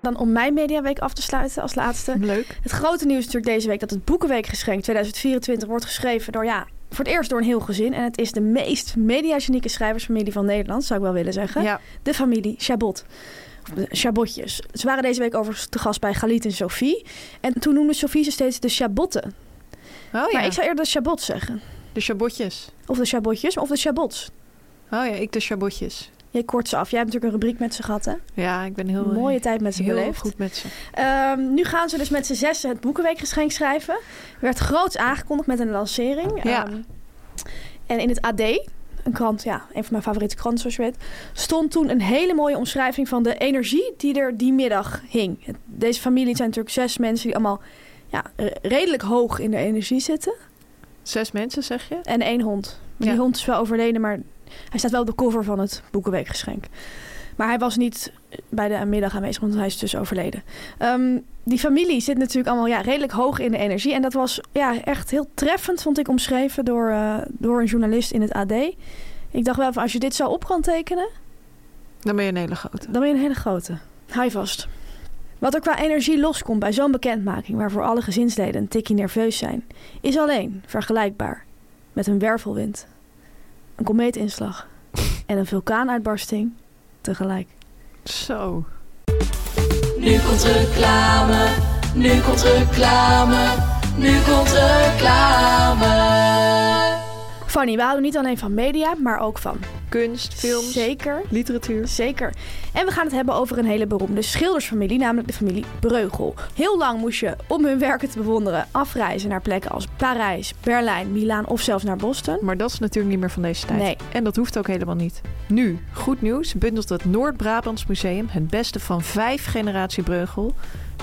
B: Dan om mijn mediaweek af te sluiten als laatste.
A: Leuk.
B: Het grote nieuws is natuurlijk deze week dat het Boekenweekgeschenk 2024 wordt geschreven door, ja, voor het eerst door een heel gezin. En het is de meest mediagenieke schrijversfamilie van Nederland, zou ik wel willen zeggen.
A: Ja,
B: De familie Chabot. Of de Chabotjes. Ze waren deze week overigens te gast bij Galit en Sophie. En toen noemde Sophie ze steeds de Chabotten.
A: oh, ja.
B: Maar ik zou eerder de Chabot zeggen.
A: de chabotjes.
B: Of de Chabotjes, of de Chabots.
A: Oh ja, ik de chabotjes.
B: Jij kort ze af. Jij hebt natuurlijk een rubriek met ze gehad, hè?
A: Oh, Ja, ik ben heel, eh,
B: Mooie tijd met ze
A: heel
B: beleefd.
A: goed met ze.
B: Ehm, nu gaan ze dus met z'n zessen het Boekenweekgeschenk schrijven. Werd groots aangekondigd met een lancering.
A: Ja.
B: Ehm, en in het AD, een krant, ja, een van mijn favoriete kranten zoals je weet... stond toen een hele mooie omschrijving van de energie die er die middag hing. Het- Deze familie het zijn natuurlijk zes mensen die allemaal ja, re- redelijk hoog in de energie zitten.
A: Zes mensen, zeg je?
B: En één hond. Maar
A: Ja.
B: Die hond is wel overleden, maar hij staat wel op de cover van het Boekenweekgeschenk. Maar hij was niet bij de middag aanwezig, want hij is dus overleden. Ehm, die familie zit natuurlijk allemaal ja, redelijk hoog in de energie. En dat was ja, echt heel treffend, vond ik, omschreven door, eh, door een journalist in het AD. Ik dacht wel, van, als je dit zo op kan tekenen,
A: Dan ben je een hele grote.
B: dan ben je een hele grote. Hou je vast. Wat er qua energie loskomt bij zo'n bekendmaking, waarvoor alle gezinsleden een tikje nerveus zijn, is alleen vergelijkbaar met een wervelwind, een komeetinslag en een vulkaanuitbarsting tegelijk.
A: Zo.
C: Nu komt reclame, nu komt reclame, nu komt reclame.
B: Fanny, we houden niet alleen van media, maar ook van
A: Kunst, films,
B: Zeker,
A: literatuur.
B: zeker. En we gaan het hebben over een hele beroemde schildersfamilie, namelijk de familie Breugel. Heel lang moest je, om hun werken te bewonderen, afreizen naar plekken als Parijs, Berlijn, Milaan of zelfs naar Boston.
A: Maar dat is natuurlijk niet meer van deze tijd.
B: Nee.
A: En dat hoeft ook helemaal niet. Nu, goed nieuws, bundelt het Noord-Brabants Museum het beste van vijf generatie Breugel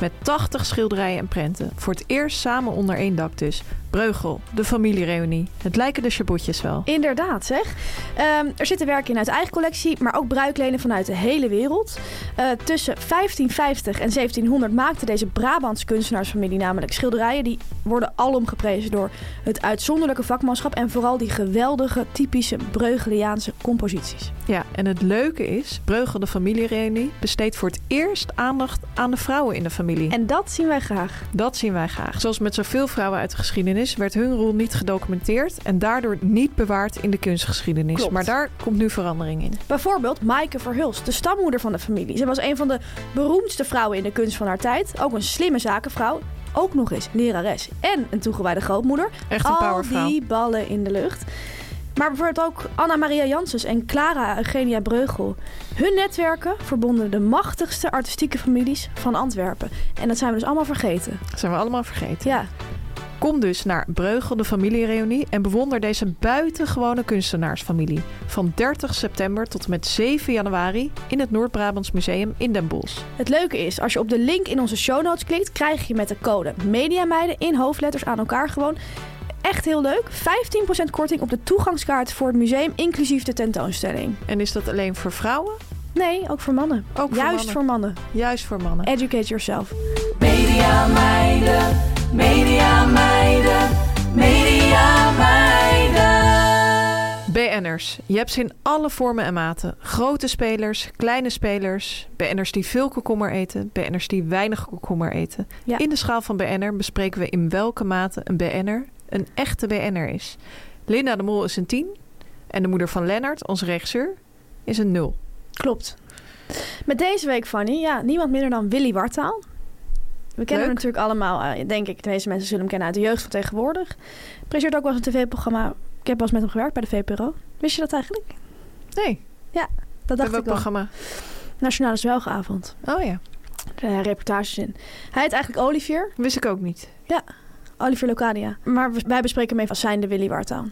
A: met 80 schilderijen en prenten. Voor het eerst samen onder één dak dus. Breugel, de familiereunie. Het lijken de chabotjes wel.
B: Inderdaad, zeg. Ehm, er zitten werken in uit eigen collectie, maar ook bruiklenen vanuit de hele wereld. Eh, tussen 1550 en 1700 maakten deze Brabants kunstenaarsfamilie namelijk schilderijen. Die worden alom geprezen door het uitzonderlijke vakmanschap en vooral die geweldige, typische Breugeliaanse composities.
A: Ja, en het leuke is, Breugel, de familiereunie, besteedt voor het eerst aandacht aan de vrouwen in de familie.
B: En dat zien wij graag.
A: Dat zien wij graag. Zoals met zoveel vrouwen uit de geschiedenis werd hun rol niet gedocumenteerd en daardoor niet bewaard in de kunstgeschiedenis.
B: Klopt.
A: Maar daar komt nu verandering in.
B: Bijvoorbeeld Maaike Verhulst, de stammoeder van de familie. Ze was een van de beroemdste vrouwen in de kunst van haar tijd. Ook een slimme zakenvrouw. Ook nog eens lerares en een toegewijde grootmoeder.
A: Echt een
B: Al
A: powervrouw.
B: die ballen in de lucht. Maar bijvoorbeeld ook Anna-Maria Janssens en Clara Eugenia Breugel. Hun netwerken verbonden de machtigste artistieke families van Antwerpen. En dat zijn we dus allemaal vergeten.
A: Dat zijn we allemaal vergeten.
B: Ja,
A: Kom dus naar Breugel de familiereunie en bewonder deze buitengewone kunstenaarsfamilie. Van 30 september tot en met 7 januari in het Noord-Brabants Museum in Den Bosch.
B: het leuke is, als je op de link in onze show notes klikt, krijg je met de code Mediameiden in hoofdletters aan elkaar gewoon echt heel leuk. 15% korting op de toegangskaart voor het museum, inclusief de tentoonstelling.
A: En is dat alleen voor vrouwen?
B: Nee, ook voor mannen.
A: Ook voor
B: Juist
A: mannen.
B: voor mannen.
A: Juist voor mannen.
B: Educate yourself.
C: Media meiden, media meiden, media meiden.
A: BN'ers. Je hebt ze in alle vormen en maten. Grote spelers, kleine spelers. BN'ers die veel komkommer eten. BN'ers die weinig komkommer eten.
B: Ja.
A: In de schaal van BN'er bespreken we in welke mate een BN'er een echte BN'er is. Linda de Mol is een 10. En de moeder van Lennart, onze regisseur, is een 0.
B: Klopt. Met deze week, Fanny, ja, niemand minder dan Willy Wartaal. We kennen
A: Leuk.
B: hem natuurlijk allemaal, eh, denk ik. De meeste mensen zullen hem kennen uit de jeugd van tegenwoordig. Presenteert ook wel eens een tv-programma. Ik heb wel eens met hem gewerkt bij de VPRO. Wist je dat eigenlijk?
A: Nee,
B: Dat
A: dat welk
B: dacht ik wel.
A: programma?
B: Nationale Zwelgenavond.
A: Oh ja,
B: Eh reportages in. Hij heet eigenlijk Olivier.
A: wist ik ook niet.
B: Olivier Locadia. Maar we- wij bespreken hem even als zijnde Willy Wartaal.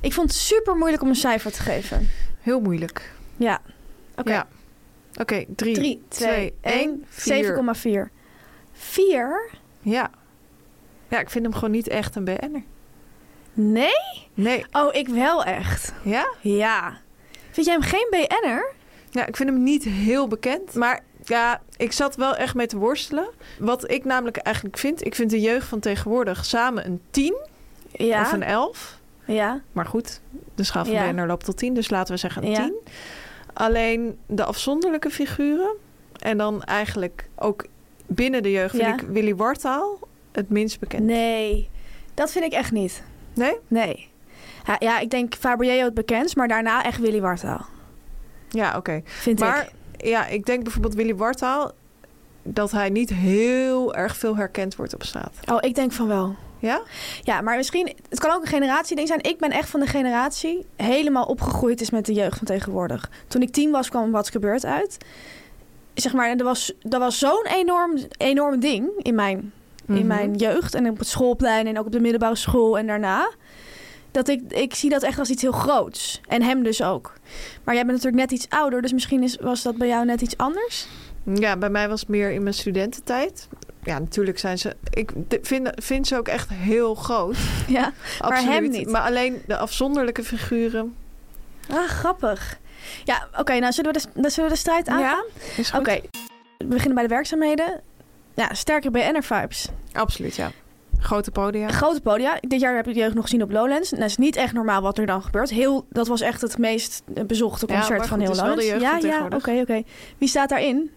B: Ik vond het super moeilijk om een cijfer te geven.
A: Heel moeilijk.
B: Ja. Oké.
A: Ja. Oké, 3,
B: 3, 2, 1,
A: 4.
B: 7,4. 4?
A: Ja. ja, ik vind hem gewoon niet echt een BN'er.
B: Nee?
A: Nee,
B: Oh, ik wel echt.
A: ja?
B: Ja. Vind jij hem geen BN'er?
A: Ja, ik vind hem niet heel bekend. Maar ja, ik zat wel echt mee te worstelen. Wat ik namelijk eigenlijk vind, ik vind de jeugd van tegenwoordig samen een 10
B: Ja.
A: of een 11.
B: Ja.
A: Maar goed, de schaal van
B: Ja.
A: Benner loopt tot 10, dus laten we zeggen een
B: Ja.
A: 10. Alleen de afzonderlijke figuren en dan eigenlijk ook binnen de jeugd
B: Ja.
A: vind ik Willy Wartaal het minst bekend.
B: Nee. Dat vind ik echt niet.
A: Nee?
B: Nee. Ja, ja ik denk Fabriello het bekendst, maar daarna echt Willy Wartaal.
A: Ja, oké.
B: Vind
A: Maar
B: ik.
A: ja, ik denk bijvoorbeeld Willy Wartaal dat hij niet heel erg veel herkend wordt op straat.
B: Oh, ik denk van wel.
A: Ja?
B: Ja, maar misschien... Het kan ook een generatieding zijn. Ik ben echt van de generatie... helemaal opgegroeid is met de jeugd van tegenwoordig. Toen ik tien was, kwam Wat's Gebeurd uit. Zeg maar, en dat was, dat was zo'n enorm, enorm ding in mijn
A: Mhm.
B: in mijn jeugd en op het schoolplein en ook op de middelbare school en daarna. Dat ik, ik zie dat echt als iets heel groots. En hem dus ook. Maar jij bent natuurlijk net iets ouder, dus misschien is, was dat bij jou net iets anders.
A: Ja, bij mij was het meer in mijn studententijd. ja, natuurlijk zijn ze. Ik d- vind, vind ze ook echt heel groot.
B: Ja. Maar hem niet.
A: Maar alleen de afzonderlijke figuren.
B: Ah, grappig. Ja, oké, nou zullen we, de, dan zullen we de strijd aangaan?
A: Is
B: Oké,
A: goed.
B: we beginnen bij de werkzaamheden. Ja, sterke BN'er-vibes.
A: Absoluut, ja. Grote podia.
B: Grote podia. Dit jaar heb ik de jeugd nog gezien op Lowlands. En dat is niet echt normaal wat er dan gebeurt. Heel, dat was echt het meest eh, bezochte
A: Ja,
B: concert
A: maar
B: van
A: goed,
B: heel
A: het is wel de
B: Lowlands.
A: jeugd van
B: Ja, ja, oké,
A: tegenwoordig.
B: oké. Wie staat daarin?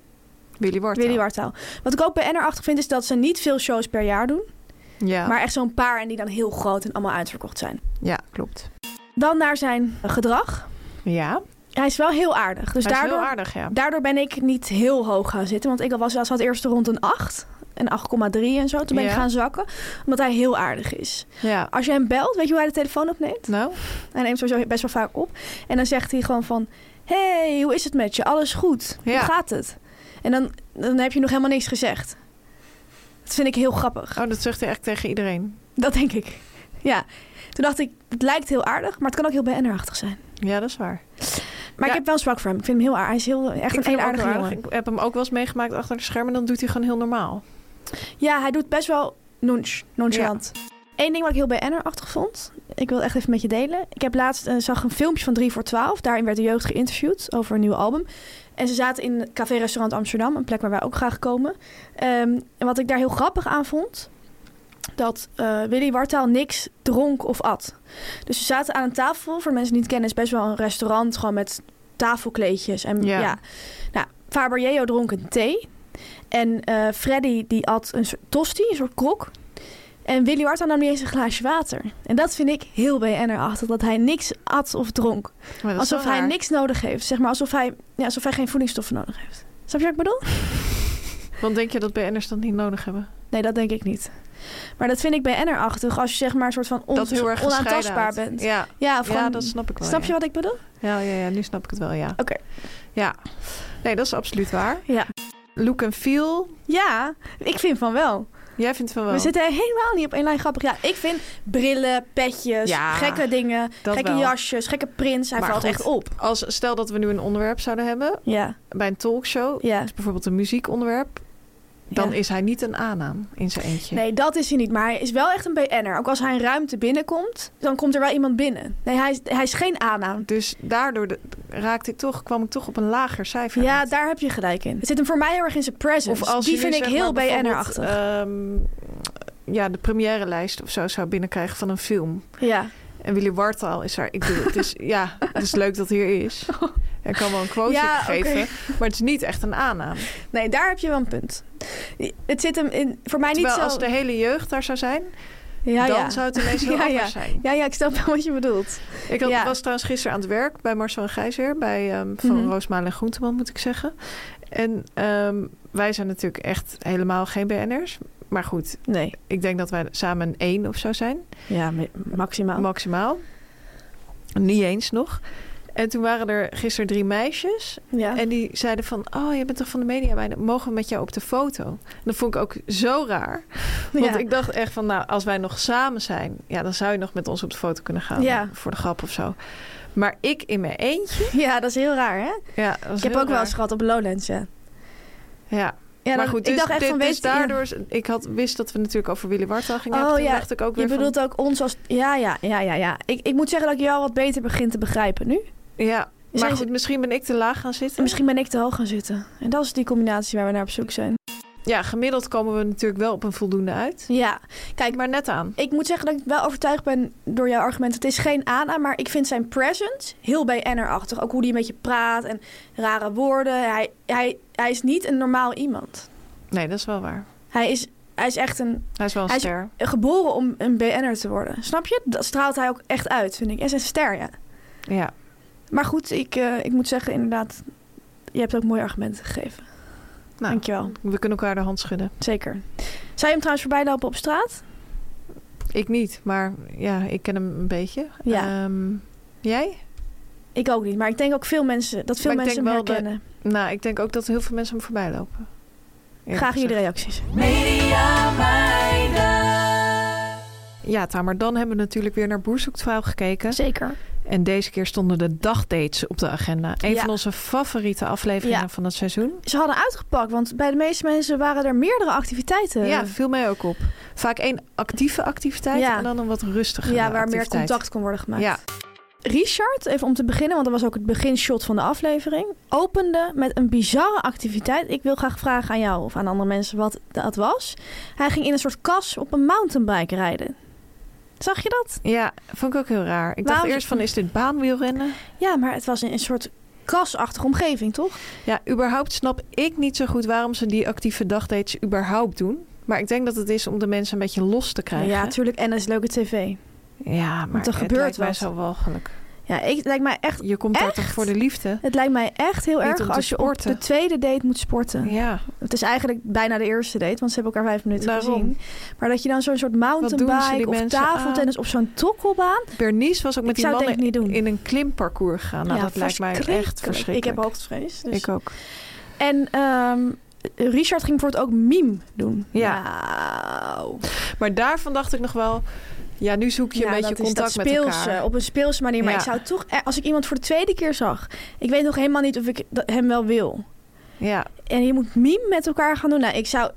A: Willy Ward.
B: Willy Wartaal. Wat ik ook BN'er-achtig vind, is dat ze niet veel shows per jaar doen.
A: Ja.
B: Maar echt zo'n paar en die dan heel groot en allemaal uitverkocht zijn.
A: ja, klopt.
B: Dan naar zijn gedrag.
A: Ja,
B: Hij is wel heel aardig. Dus
A: hij is
B: daardoor
A: heel aardig, ja.
B: Daardoor ben ik niet heel hoog gaan zitten. Want ik was als het eerste rond een 8. Een 8,3 en zo. Toen ben ik
A: Ja.
B: gaan zakken. Omdat hij heel aardig is.
A: Ja.
B: Als je hem belt, weet je hoe hij de telefoon opneemt?
A: Nou,
B: Hij neemt sowieso best wel vaak op. En dan zegt hij gewoon van... hey, hoe is het met je? Alles goed?
A: Ja.
B: Hoe gaat het? En dan, dan heb je nog helemaal niks gezegd. Dat vind ik heel grappig.
A: oh, dat zegt hij echt tegen iedereen.
B: Dat denk ik. Ja. Toen dacht ik, het lijkt heel aardig, maar het kan ook heel BN'er-achtig zijn.
A: Ja, dat is waar.
B: Maar
A: Ja.
B: ik heb wel een zwak voor hem. Ik vind hem heel aardig. Hij is heel, echt een
A: vind
B: heel
A: hem ook
B: aardige
A: wel
B: jongen.
A: Ik heb hem ook wel eens meegemaakt achter de schermen. Dan doet hij gewoon heel normaal.
B: Ja, hij doet best wel nonch, nonchalant. Eén ding wat ik heel BN'er-achtig vond. Ik wil het echt even met je delen. Ik heb laatst, eh, zag een filmpje van 3 voor 12. Daarin werd de jeugd geïnterviewd over een nieuw album. En ze zaten in het Café Restaurant Amsterdam. Een plek waar wij ook graag komen. Ehm, en wat ik daar heel grappig aan vond... dat eh, Willy Wartaal niks dronk of at. Dus ze zaten aan een tafel. Voor de mensen die het kennen is best wel een restaurant. Gewoon met tafelkleedjes. En,
A: Ja.
B: ja. Nou, Faber Jeo dronk een thee. En eh, Freddy die at een soort tosti, een soort krok. En Willy Wartaal nam niet eens een glaasje water. En dat vind ik heel BN'er-achtig. Dat hij niks at of dronk.
A: Maar dat is
B: Alsof
A: wel
B: hij
A: raar.
B: niks nodig heeft. Zeg maar alsof hij, ja, alsof hij geen voedingsstoffen nodig heeft. Snap je wat ik bedoel?
A: Want denk je dat BN'ers dat niet nodig hebben?
B: Nee, dat denk ik niet. Maar dat vind ik BN'er-achtig. Als je zeg maar een soort van on-
A: dat heel erg gescheiden
B: onaantastbaar
A: houdt.
B: bent.
A: Ja,
B: Ja, of
A: ja
B: gewoon-
A: dat snap ik wel.
B: Snap
A: ja.
B: je wat ik bedoel?
A: Ja, ja, ja, nu snap ik het wel, ja.
B: Oké.
A: Ja. Nee, dat is absoluut waar.
B: Ja.
A: Look and feel.
B: Ja, ik vind van wel.
A: Jij vindt van wel.
B: We zitten helemaal niet op één lijn grappig. Ja, ik vind brillen, petjes,
A: Ja,
B: gekke dingen,
A: dat
B: gekke
A: wel.
B: jasjes, gekke prins. Hij
A: Maar
B: valt
A: goed.
B: echt op.
A: Als, stel dat we nu een onderwerp zouden hebben
B: Ja,
A: bij een talkshow.
B: ja.
A: Dus bijvoorbeeld een muziekonderwerp. Dan
B: Ja.
A: is hij niet een aannaam in zijn eentje.
B: Nee, dat is hij niet. Maar hij is wel echt een BN'er. Ook als hij een ruimte binnenkomt, dan komt er wel iemand binnen. Nee, hij is, hij is geen aannaam.
A: Dus daardoor de- raakte ik toch, kwam ik toch op een lager cijfer.
B: Ja,
A: uit.
B: daar heb je gelijk in. Het zit hem voor mij heel erg in zijn presence.
A: of als
B: Die
A: je nu
B: vind ik
A: zeg maar
B: heel
A: bijvoorbeeld,
B: BN'er-achtig.
A: ehm, ja, de première lijst of zo zou binnenkrijgen van een film.
B: ja.
A: En Willy Wartaal is daar. Ik bedoel, het is, ja, het is leuk dat hij hier is. Hij kan wel een quote
B: Ja,
A: geven,
B: oké.
A: maar het is niet echt een aanname.
B: Nee, daar heb je wel een punt. Het zit hem in, voor mij
A: Terwijl
B: niet zo...
A: als de hele jeugd daar zou zijn,
B: ja,
A: dan
B: ja.
A: zou het ineens heel
B: Ja,
A: anders zijn.
B: ja, ja, ik snap wel wat je bedoelt.
A: Ik had,
B: Ja.
A: was trouwens gisteren aan het werk bij Marcel en Gijsweer, bij ehm, Van
B: Mhm.
A: Roosmalen en Groenteman moet ik zeggen. En ehm, wij zijn natuurlijk echt helemaal geen BN'ers. Maar goed,
B: Nee,
A: ik denk dat wij samen een één of zo zijn.
B: ja, ma- maximaal.
A: Maximaal. Niet eens nog. En toen waren er gisteren drie meisjes.
B: ja.
A: En die zeiden van, oh, je bent toch van de media bijna. Mogen we met jou op de foto? En dat vond ik ook zo raar. Want
B: Ja.
A: ik dacht echt van, nou, als wij nog samen zijn... ja, dan zou je nog met ons op de foto kunnen gaan.
B: Ja.
A: Voor de grap of zo. Maar ik in mijn eentje...
B: ja, dat is heel raar, hè?
A: Ja, dat was
B: Ik heb
A: heel
B: ook wel
A: raar.
B: eens gehad op Lowlands, ja.
A: Ja,
B: ja
A: maar
B: dan-
A: goed, dus,
B: ik dacht echt
A: dit-
B: van,
A: dus
B: weet je- ja.
A: daardoor... is- Ik had, wist dat we natuurlijk over Willy Wartel gingen hebben.
B: Oh,
A: Toen
B: ja.
A: dacht ik ook
B: Je
A: weer
B: bedoelt ook ons als... Ja, ja, ja, ja, ja. Ik, ik moet zeggen dat ik jou wat beter begin te begrijpen nu.
A: van... Ja, maar
B: Zijn ze-
A: goed, misschien ben ik te laag gaan zitten.
B: En misschien ben ik te hoog gaan zitten. En dat is die combinatie waar we naar op zoek zijn.
A: Ja, gemiddeld komen we natuurlijk wel op een voldoende uit.
B: Ja,
A: Kijk maar net aan.
B: ik moet zeggen dat ik wel overtuigd ben door jouw argument. Het is geen aan, maar ik vind zijn presence heel BN'er-achtig. Ook hoe hij een beetje praat en rare woorden. Hij, hij, hij is niet een normaal iemand.
A: Nee, dat is wel waar.
B: Hij is, hij is echt een
A: Hij is wel een
B: Hij is-
A: ster.
B: geboren om een BN'er te worden. Snap je? Dat straalt hij ook echt uit, vind ik. En zijn ster, ja.
A: Ja.
B: Maar goed, ik, eh, ik moet zeggen inderdaad... Je hebt ook mooie argumenten gegeven.
A: Nou,
B: Dankjewel.
A: we kunnen elkaar de hand schudden.
B: Zeker. Zou je hem trouwens voorbij lopen op straat?
A: Ik niet, maar ja, ik ken hem een beetje.
B: Ja.
A: Ehm, jij?
B: Ik ook niet. Maar ik denk ook veel mensen, dat veel
A: Maar ik
B: mensen hem
A: denk wel
B: herkennen.
A: Nou, ik denk ook dat heel veel mensen hem voorbij lopen. Eerlijk
B: Graag
A: gezegd.
B: jullie reacties.
C: Media meiden.
A: Ja, Tamer, dan hebben we natuurlijk weer naar Boer Zoekt Vrouw gekeken.
B: Zeker.
A: En deze keer stonden de dagdates op de agenda. Een
B: Ja.
A: van onze favoriete afleveringen
B: Ja.
A: van het seizoen.
B: Ze hadden uitgepakt, want bij de meeste mensen waren er meerdere activiteiten.
A: ja, viel mij ook op. Vaak één actieve activiteit
B: Ja.
A: en dan een wat rustiger.
B: ja waar meer contact kon worden gemaakt.
A: Ja,
B: Richard, even om te beginnen, want dat was ook het beginshot van de aflevering, opende met een bizarre activiteit. Ik wil graag vragen aan jou of aan andere mensen wat dat was. Hij ging in een soort kas op een mountainbike rijden. Zag je dat?
A: ja, vond ik ook heel raar. Ik
B: Waarom-
A: dacht eerst van, is dit baanwielrennen?
B: Ja, maar het was in een soort kasachtige omgeving, toch?
A: Ja, überhaupt snap ik niet zo goed waarom ze die actieve dagdates überhaupt doen. Maar ik denk dat het is om de mensen een beetje los te krijgen.
B: Ja, natuurlijk. En dat is leuke tv.
A: ja maar
B: er
A: het
B: gebeurt
A: lijkt mij
B: wat.
A: zo walgelijk.
B: Ja, ik, het, lijkt mij echt,
A: Je komt daar toch
B: Echt?
A: voor de liefde?
B: het lijkt mij echt heel
A: Niet om
B: erg
A: te
B: als je op
A: sporten.
B: de tweede date moet sporten.
A: Ja,
B: Het is eigenlijk bijna de eerste date, want ze hebben elkaar vijf minuten
A: Daarom.
B: gezien. Maar dat je dan zo'n soort
A: Wat doen ze die
B: mountainbike of
A: mensen aan?
B: tafeltennis op zo'n tokkelbaan.
A: Bernice was ook met
B: ik
A: die
B: zou het
A: mannen
B: denk ik niet doen.
A: in een klimparcours gegaan. Nou, dat lijkt mij echt verschrikkelijk.
B: Ik heb hoogtevrees. Dus.
A: Ik ook.
B: En ehm, Richard ging bijvoorbeeld ook meme doen.
A: Ja.
B: Nou.
A: Maar daarvan dacht ik nog wel... Ja, nu zoek je
B: Ja,
A: een beetje
B: dat is
A: contact
B: dat
A: met
B: speelse,
A: elkaar.
B: Op een speelse manier. Maar
A: Ja.
B: ik zou toch, eh, als ik iemand voor de tweede keer zag, ik weet nog helemaal niet of ik dat- hem wel wil.
A: Ja,
B: En je moet meme met elkaar gaan doen. Nou, ik zou,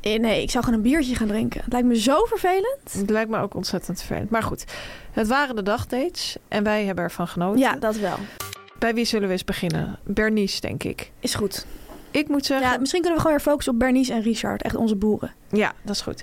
B: eh, nee, ik zou gewoon een biertje gaan drinken. Het lijkt me zo vervelend.
A: het lijkt me ook ontzettend vervelend. Maar goed, het waren de dagdates en wij hebben ervan genoten.
B: Ja, dat wel.
A: Bij wie zullen we eens beginnen? Bernice, denk ik.
B: Is goed.
A: Ik moet zeggen...
B: Ja, misschien kunnen we gewoon weer focussen op Bernice en Richard. Echt onze boeren.
A: Ja, dat is goed.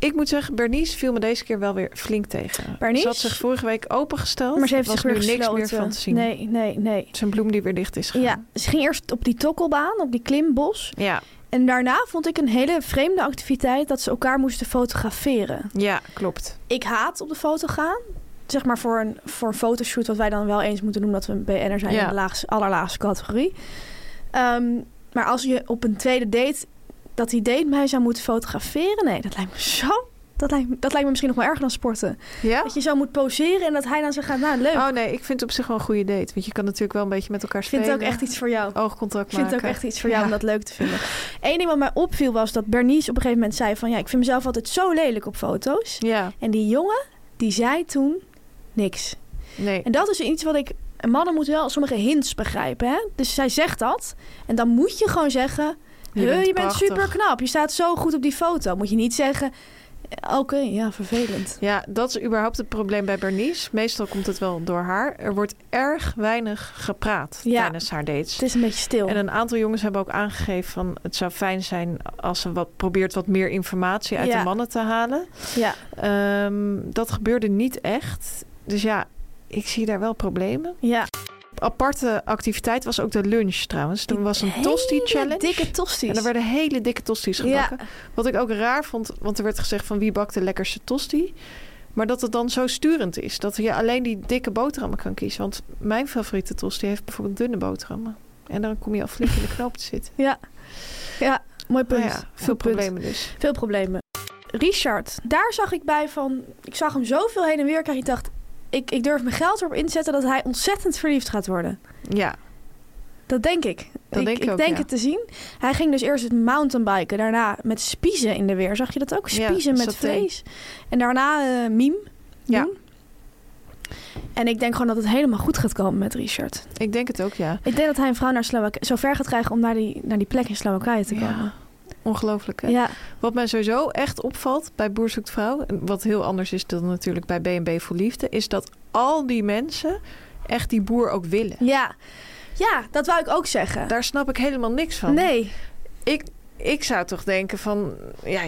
A: Ik moet zeggen, Bernice viel me deze keer wel weer flink tegen.
B: Bernice?
A: Ze had zich vorige week opengesteld.
B: Maar ze heeft
A: was
B: zich weer
A: nu niks
B: gesloten.
A: meer van te zien.
B: Nee, nee, nee.
A: Het is een bloem die weer dicht is gegaan.
B: Ja, ze ging eerst op die tokkelbaan, op die klimbos.
A: Ja,
B: En daarna vond ik een hele vreemde activiteit dat ze elkaar moesten fotograferen.
A: ja, klopt.
B: Ik haat op de foto gaan. Zeg maar voor een, voor een fotoshoot, wat wij dan wel eens moeten doen, dat we een BN'er zijn
A: Ja.
B: in de laagste, allerlaagste categorie. Ehm, maar als je op een tweede date, dat die date mij zou moeten fotograferen, nee, dat lijkt me zo. Dat lijkt, me- dat lijkt me misschien nog wel erger dan sporten.
A: Ja?
B: Dat je zo moet poseren en dat hij dan zo gaat, nou leuk.
A: Oh nee, ik vind het op zich wel een goede date. Want je kan natuurlijk wel een beetje met elkaar
B: ik
A: spelen.
B: vind het ook echt iets voor jou.
A: Oogcontact
B: Ik vind
A: maken.
B: het ook echt iets voor jou
A: Ja.
B: om dat leuk te vinden. Eén ding wat mij opviel was dat Bernice op een gegeven moment zei van... ja, ik vind mezelf altijd zo lelijk op foto's.
A: Ja,
B: En die jongen, die zei toen niks.
A: nee.
B: En dat is iets wat ik... en Mannen moeten wel sommige hints begrijpen, hè? Dus zij zegt dat. En dan moet je gewoon zeggen... Je bent, je bent
A: prachtig.
B: super knap. Je staat zo goed op die foto. Moet je niet zeggen... "Eh, Oké, ja, vervelend.
A: Ja, dat is überhaupt het probleem bij Bernice. Meestal komt het wel door haar. Er wordt erg weinig gepraat
B: Ja.
A: tijdens haar dates.
B: Het is een beetje stil.
A: En een aantal jongens hebben ook aangegeven van het zou fijn zijn als ze wat probeert wat meer informatie uit
B: Ja.
A: de mannen te halen.
B: Ja.
A: Ehm, dat gebeurde niet echt. Dus ja, ik zie daar wel problemen.
B: ja.
A: Aparte activiteit was ook de lunch trouwens. Toen was een tosti
B: Hele
A: challenge.
B: dikke tosti's.
A: en er werden hele dikke tosti's gebakken. Wat ik ook raar vond, want er werd gezegd van wie bakt de lekkerste tosti. Maar dat het dan zo sturend is. Dat je alleen die dikke boterhammen kan kiezen. Want mijn favoriete tosti heeft bijvoorbeeld dunne boterhammen. En dan kom je al flink in de knoop te zitten.
B: Ja, ja mooi punt.
A: Nou ja, veel
B: Goed punt.
A: problemen dus.
B: Veel problemen. Richard, daar zag ik bij van... Ik zag hem zoveel heen en weer krijgen. Ik dacht, ik, ik durf mijn geld erop in te zetten... dat hij ontzettend verliefd gaat worden.
A: Ja,
B: Dat denk ik.
A: Dat denk ik ook,
B: denk
A: ja.
B: het te zien. Hij ging dus eerst het mountainbiken. Daarna met spiezen in de weer. Zag je dat ook?
A: Ja,
B: Spiezen met
A: saté.
B: vlees. En daarna eh meme.
A: Ja.
B: doen. En ik denk gewoon dat het helemaal goed gaat komen met Richard.
A: ik denk het ook, ja.
B: Ik denk dat hij een vrouw naar Slowakije... zo ver gaat krijgen om naar die, naar die plek in Slowakije te
A: Ja,
B: komen.
A: Ongelooflijk, hè?
B: ja.
A: Wat mij sowieso echt opvalt bij Boer zoekt vrouw... en wat heel anders is dan natuurlijk bij B&B voor Liefde... is dat al die mensen echt die boer ook willen.
B: Ja. ja, dat wou ik ook zeggen.
A: Daar snap ik helemaal niks van.
B: Nee,
A: Ik, ik zou toch denken van... Ja,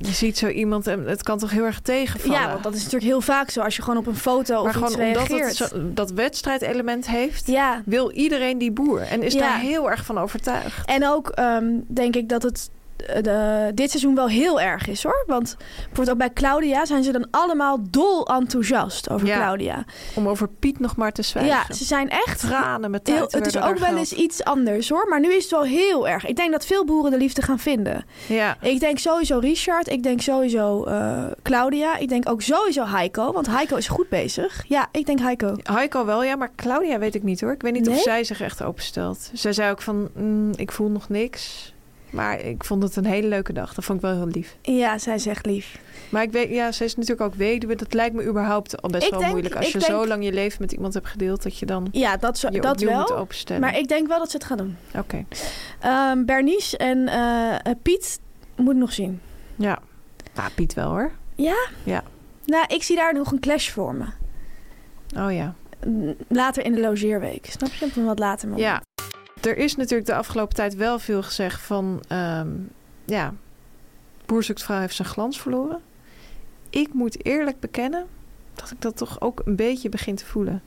A: je ziet zo iemand en het kan toch heel erg tegenvallen.
B: ja, want dat is natuurlijk heel vaak zo als je gewoon op een foto
A: maar gewoon
B: of iets
A: omdat
B: reageert.
A: het zo- dat wedstrijdelement heeft...
B: Ja,
A: wil iedereen die boer. En is
B: Ja.
A: daar heel erg van overtuigd.
B: en ook ehm, denk ik dat het eh, de, dit seizoen wel heel erg is hoor. Want bijvoorbeeld ook bij Claudia zijn ze dan allemaal dol enthousiast over
A: Ja.
B: Claudia.
A: Om over Piet nog maar te zwijgen.
B: Ja, ze zijn echt...
A: Tranen met
B: Heel,
A: tijd
B: het is
A: werden
B: ook
A: daar
B: wel eens iets anders hoor, maar nu is het wel heel erg. Ik denk dat veel boeren de liefde gaan vinden.
A: gehaald. Ja.
B: Ik denk sowieso Richard, ik denk sowieso eh, Claudia, ik denk ook sowieso Heiko, want Heiko is goed bezig. Ja, ik denk Heiko.
A: Heiko wel, ja, maar Claudia weet ik niet hoor. Ik weet niet of
B: Nee?
A: zij zich echt openstelt. Zij zei ook van, "Mm, ik voel nog niks. Maar ik vond het een hele leuke dag. Dat vond ik wel heel lief.
B: Ja, zij is echt lief.
A: Maar ik weet, ja, ze is natuurlijk ook weduwe. Dat lijkt me überhaupt al best
B: Ik
A: wel
B: denk-
A: moeilijk. Als
B: ik
A: je
B: denk-
A: zo lang je leven met iemand hebt gedeeld, dat je dan
B: Ja, dat, zo,
A: je
B: dat
A: opnieuw moet eh.
B: wel.
A: openstellen.
B: Maar ik denk wel dat ze het gaat doen.
A: Oké,
B: Ehm, Bernice en eh, eh, Piet moet nog zien.
A: ja. Nou, Piet wel hoor.
B: Nou, ik zie daar nog een clash voor me.
A: Oh ja.
B: Later in de logeerweek, snap je? Op een wat later moment.
A: Ja. Er is natuurlijk de afgelopen tijd wel veel gezegd van... ehm, ja, Boer zoekt vrouw heeft zijn glans verloren. Ik moet eerlijk bekennen dat ik dat toch ook een beetje begin te voelen.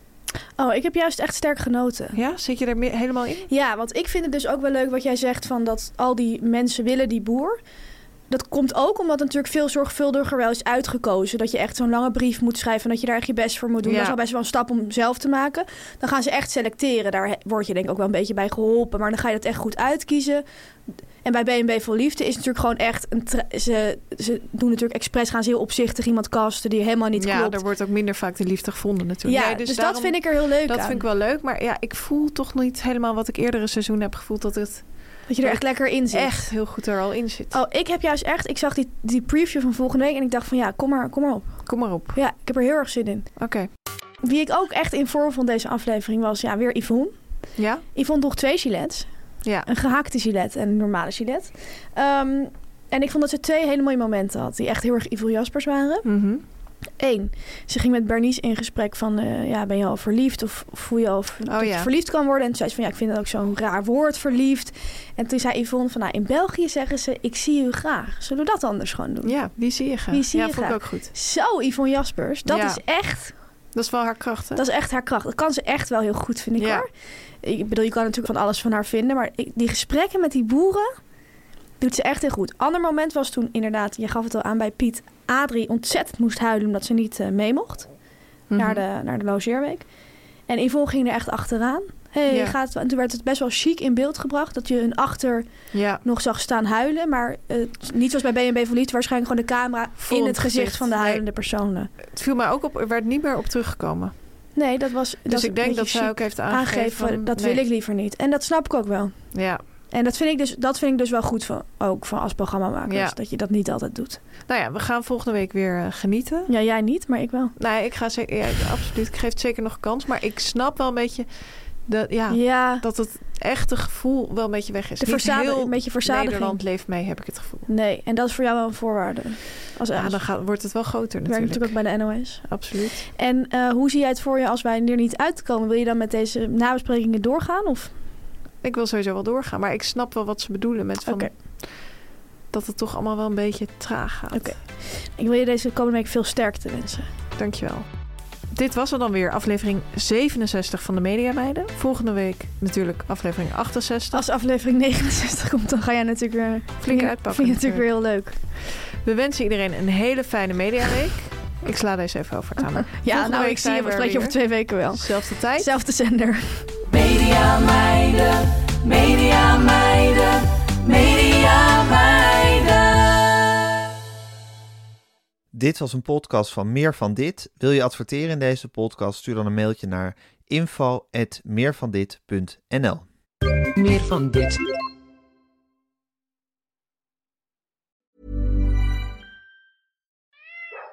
B: Oh, ik heb juist echt sterk genoten.
A: Ja, zit je er meer, helemaal in?
B: Ja, want ik vind het dus ook wel leuk wat jij zegt van dat al die mensen willen die boer. Dat komt ook omdat het natuurlijk veel zorgvuldiger wel is uitgekozen. Dat je echt zo'n lange brief moet schrijven en dat je daar echt je best voor moet doen.
A: Ja.
B: Dat is al best wel een stap om zelf te maken. Dan gaan ze echt selecteren. Daar he- word je denk ik ook wel een beetje bij geholpen. Maar dan ga je dat echt goed uitkiezen. En bij BNB Vol Liefde is het natuurlijk gewoon echt... Een tra- ze, ze doen natuurlijk expres, gaan ze heel opzichtig iemand kasten die helemaal niet
A: ja,
B: klopt.
A: er wordt ook minder vaak de liefde gevonden natuurlijk.
B: ja,
A: Nee,
B: dus,
A: daarom-
B: dat vind ik er heel leuk
A: Dat
B: aan.
A: vind ik wel leuk, maar ja, ik voel toch niet helemaal wat ik eerdere seizoen heb gevoeld. Dat het
B: Dat je er echt lekker in zit.
A: echt heel goed er al in zit.
B: Oh, ik heb juist echt... Ik zag die, die preview van volgende week en ik dacht van ja, kom maar, kom maar op.
A: Kom maar op.
B: Ja, ik heb er heel erg zin in.
A: Oké.
B: Wie ik ook echt in vorm van deze aflevering was, ja, weer Yvonne.
A: Ja?
B: Yvonne droeg twee gilets.
A: Ja.
B: Een gehaakte gilet en een normale gilet. Ehm, en ik vond dat ze twee hele mooie momenten had, die echt heel erg Yvonne Jaspers waren.
A: Mhm.
B: Eén, ze ging met Bernice in gesprek van, eh, ja, ben je al verliefd? Of voel je al of dat
A: Oh, ja.
B: je verliefd kan worden? En toen zei ze van, ja, ik vind dat ook zo'n raar woord, verliefd. En toen zei Yvonne van, nou, in België zeggen ze, ik zie u graag. Zullen we dat anders gewoon doen?
A: Ja, die zie je graag.
B: Die zie
A: ja,
B: je
A: vond ik ook
B: graag.
A: goed.
B: Zo, Yvonne Jaspers. Dat
A: Ja.
B: is echt,
A: Dat is wel haar kracht, hè?
B: dat is echt haar kracht. Dat kan ze echt wel heel goed, vind ik
A: Ja.
B: hoor. Ik bedoel, je kan natuurlijk van alles van haar vinden. Maar ik- die gesprekken met die boeren doet ze echt heel goed. Ander moment was toen inderdaad, je gaf het al aan bij Piet. Adrie ontzettend moest huilen omdat ze niet eh, mee mocht
A: Mhm.
B: naar, de, naar de logeerweek. En Yvonne ging er echt achteraan. Hey,
A: Ja.
B: gaat, en toen werd het best wel chic in beeld gebracht dat je hun achter
A: Ja.
B: nog zag staan huilen. Maar eh, niet zoals bij BNB van Liefde, waarschijnlijk gewoon de camera
A: Vol
B: in
A: in
B: het
A: het
B: gezicht,
A: gezicht.
B: van de
A: Nee.
B: huilende personen.
A: Het viel mij ook op, er werd niet meer op teruggekomen.
B: Nee, dat was.
A: Dus
B: dat
A: ik denk dat zij
B: ze
A: ook heeft aangegeven.
B: aangeven.
A: van,
B: dat
A: nee.
B: wil ik liever niet. En dat snap ik ook wel.
A: Ja.
B: En dat vind ik dus, dat vind ik dus wel goed van, ook van als programmamakers.
A: Ja.
B: Dat je dat niet altijd doet.
A: Nou ja, we gaan volgende week weer eh, genieten.
B: Ja, jij niet, maar ik wel.
A: Nee, ik ga zeker, ja, ik- absoluut. Ik geef het zeker nog een kans. Maar ik snap wel een beetje dat, ja,
B: Ja,
A: dat het echte gevoel wel een beetje weg is.
B: de
A: Niet
B: verzadiging,
A: heel
B: een beetje verzadiging.
A: Nederland leeft mee, heb ik het gevoel.
B: Nee, en dat is voor jou wel een voorwaarde. Als
A: Ja, dan
B: ja,
A: gaat, wordt het wel groter
B: werkt
A: natuurlijk.
B: natuurlijk ook bij de NOS.
A: Absoluut.
B: En eh, hoe zie jij het voor je als wij er niet uitkomen? Wil je dan met deze nabesprekingen doorgaan? Of?
A: Ik wil sowieso wel doorgaan. Maar ik snap wel wat ze bedoelen met van,
B: Oké.
A: dat het toch allemaal wel een beetje traag gaat.
B: Oké. Ik wil je deze komende week veel sterkte wensen.
A: Dankjewel. Dit was er dan weer, aflevering 67 van de Media Meiden. Volgende week natuurlijk aflevering 68.
B: Als aflevering 69 komt, dan ga jij natuurlijk weer...
A: Flink uitpakken
B: Vind je natuurlijk weer heel leuk.
A: We wensen iedereen een hele fijne Mediaweek. Ik sla deze even over, Tamer.
B: Ja,
A: Volgende
B: nou,
A: week
B: ik zie
A: zijn
B: je
A: we er
B: waarschijnlijk over
A: weer.
B: twee weken wel.
A: Zelfde tijd.
B: Zelfde zender.
C: Media meiden, media meiden, media meiden.
D: Dit was een podcast van Meer van Dit. Wil je adverteren in deze podcast? Stuur dan een mailtje naar info.meervandit.nl
E: Meer van dit.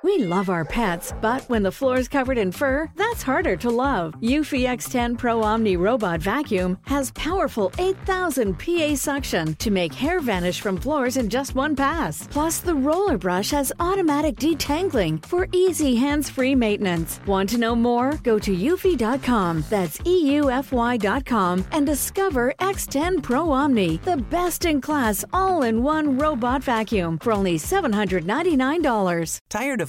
F: We love our pets, but when the floor is covered in fur, that's harder to love. Eufy X10 Pro Omni Robot Vacuum has powerful 8,000 PA suction to make hair vanish from floors in just one pass. Plus, the roller brush has automatic detangling for easy hands-free maintenance. Want to know more? Go to eufy.com. That's E EUFY.com and discover X10 Pro Omni, the best-in-class all-in-one robot vacuum for only $799.
G: Tired of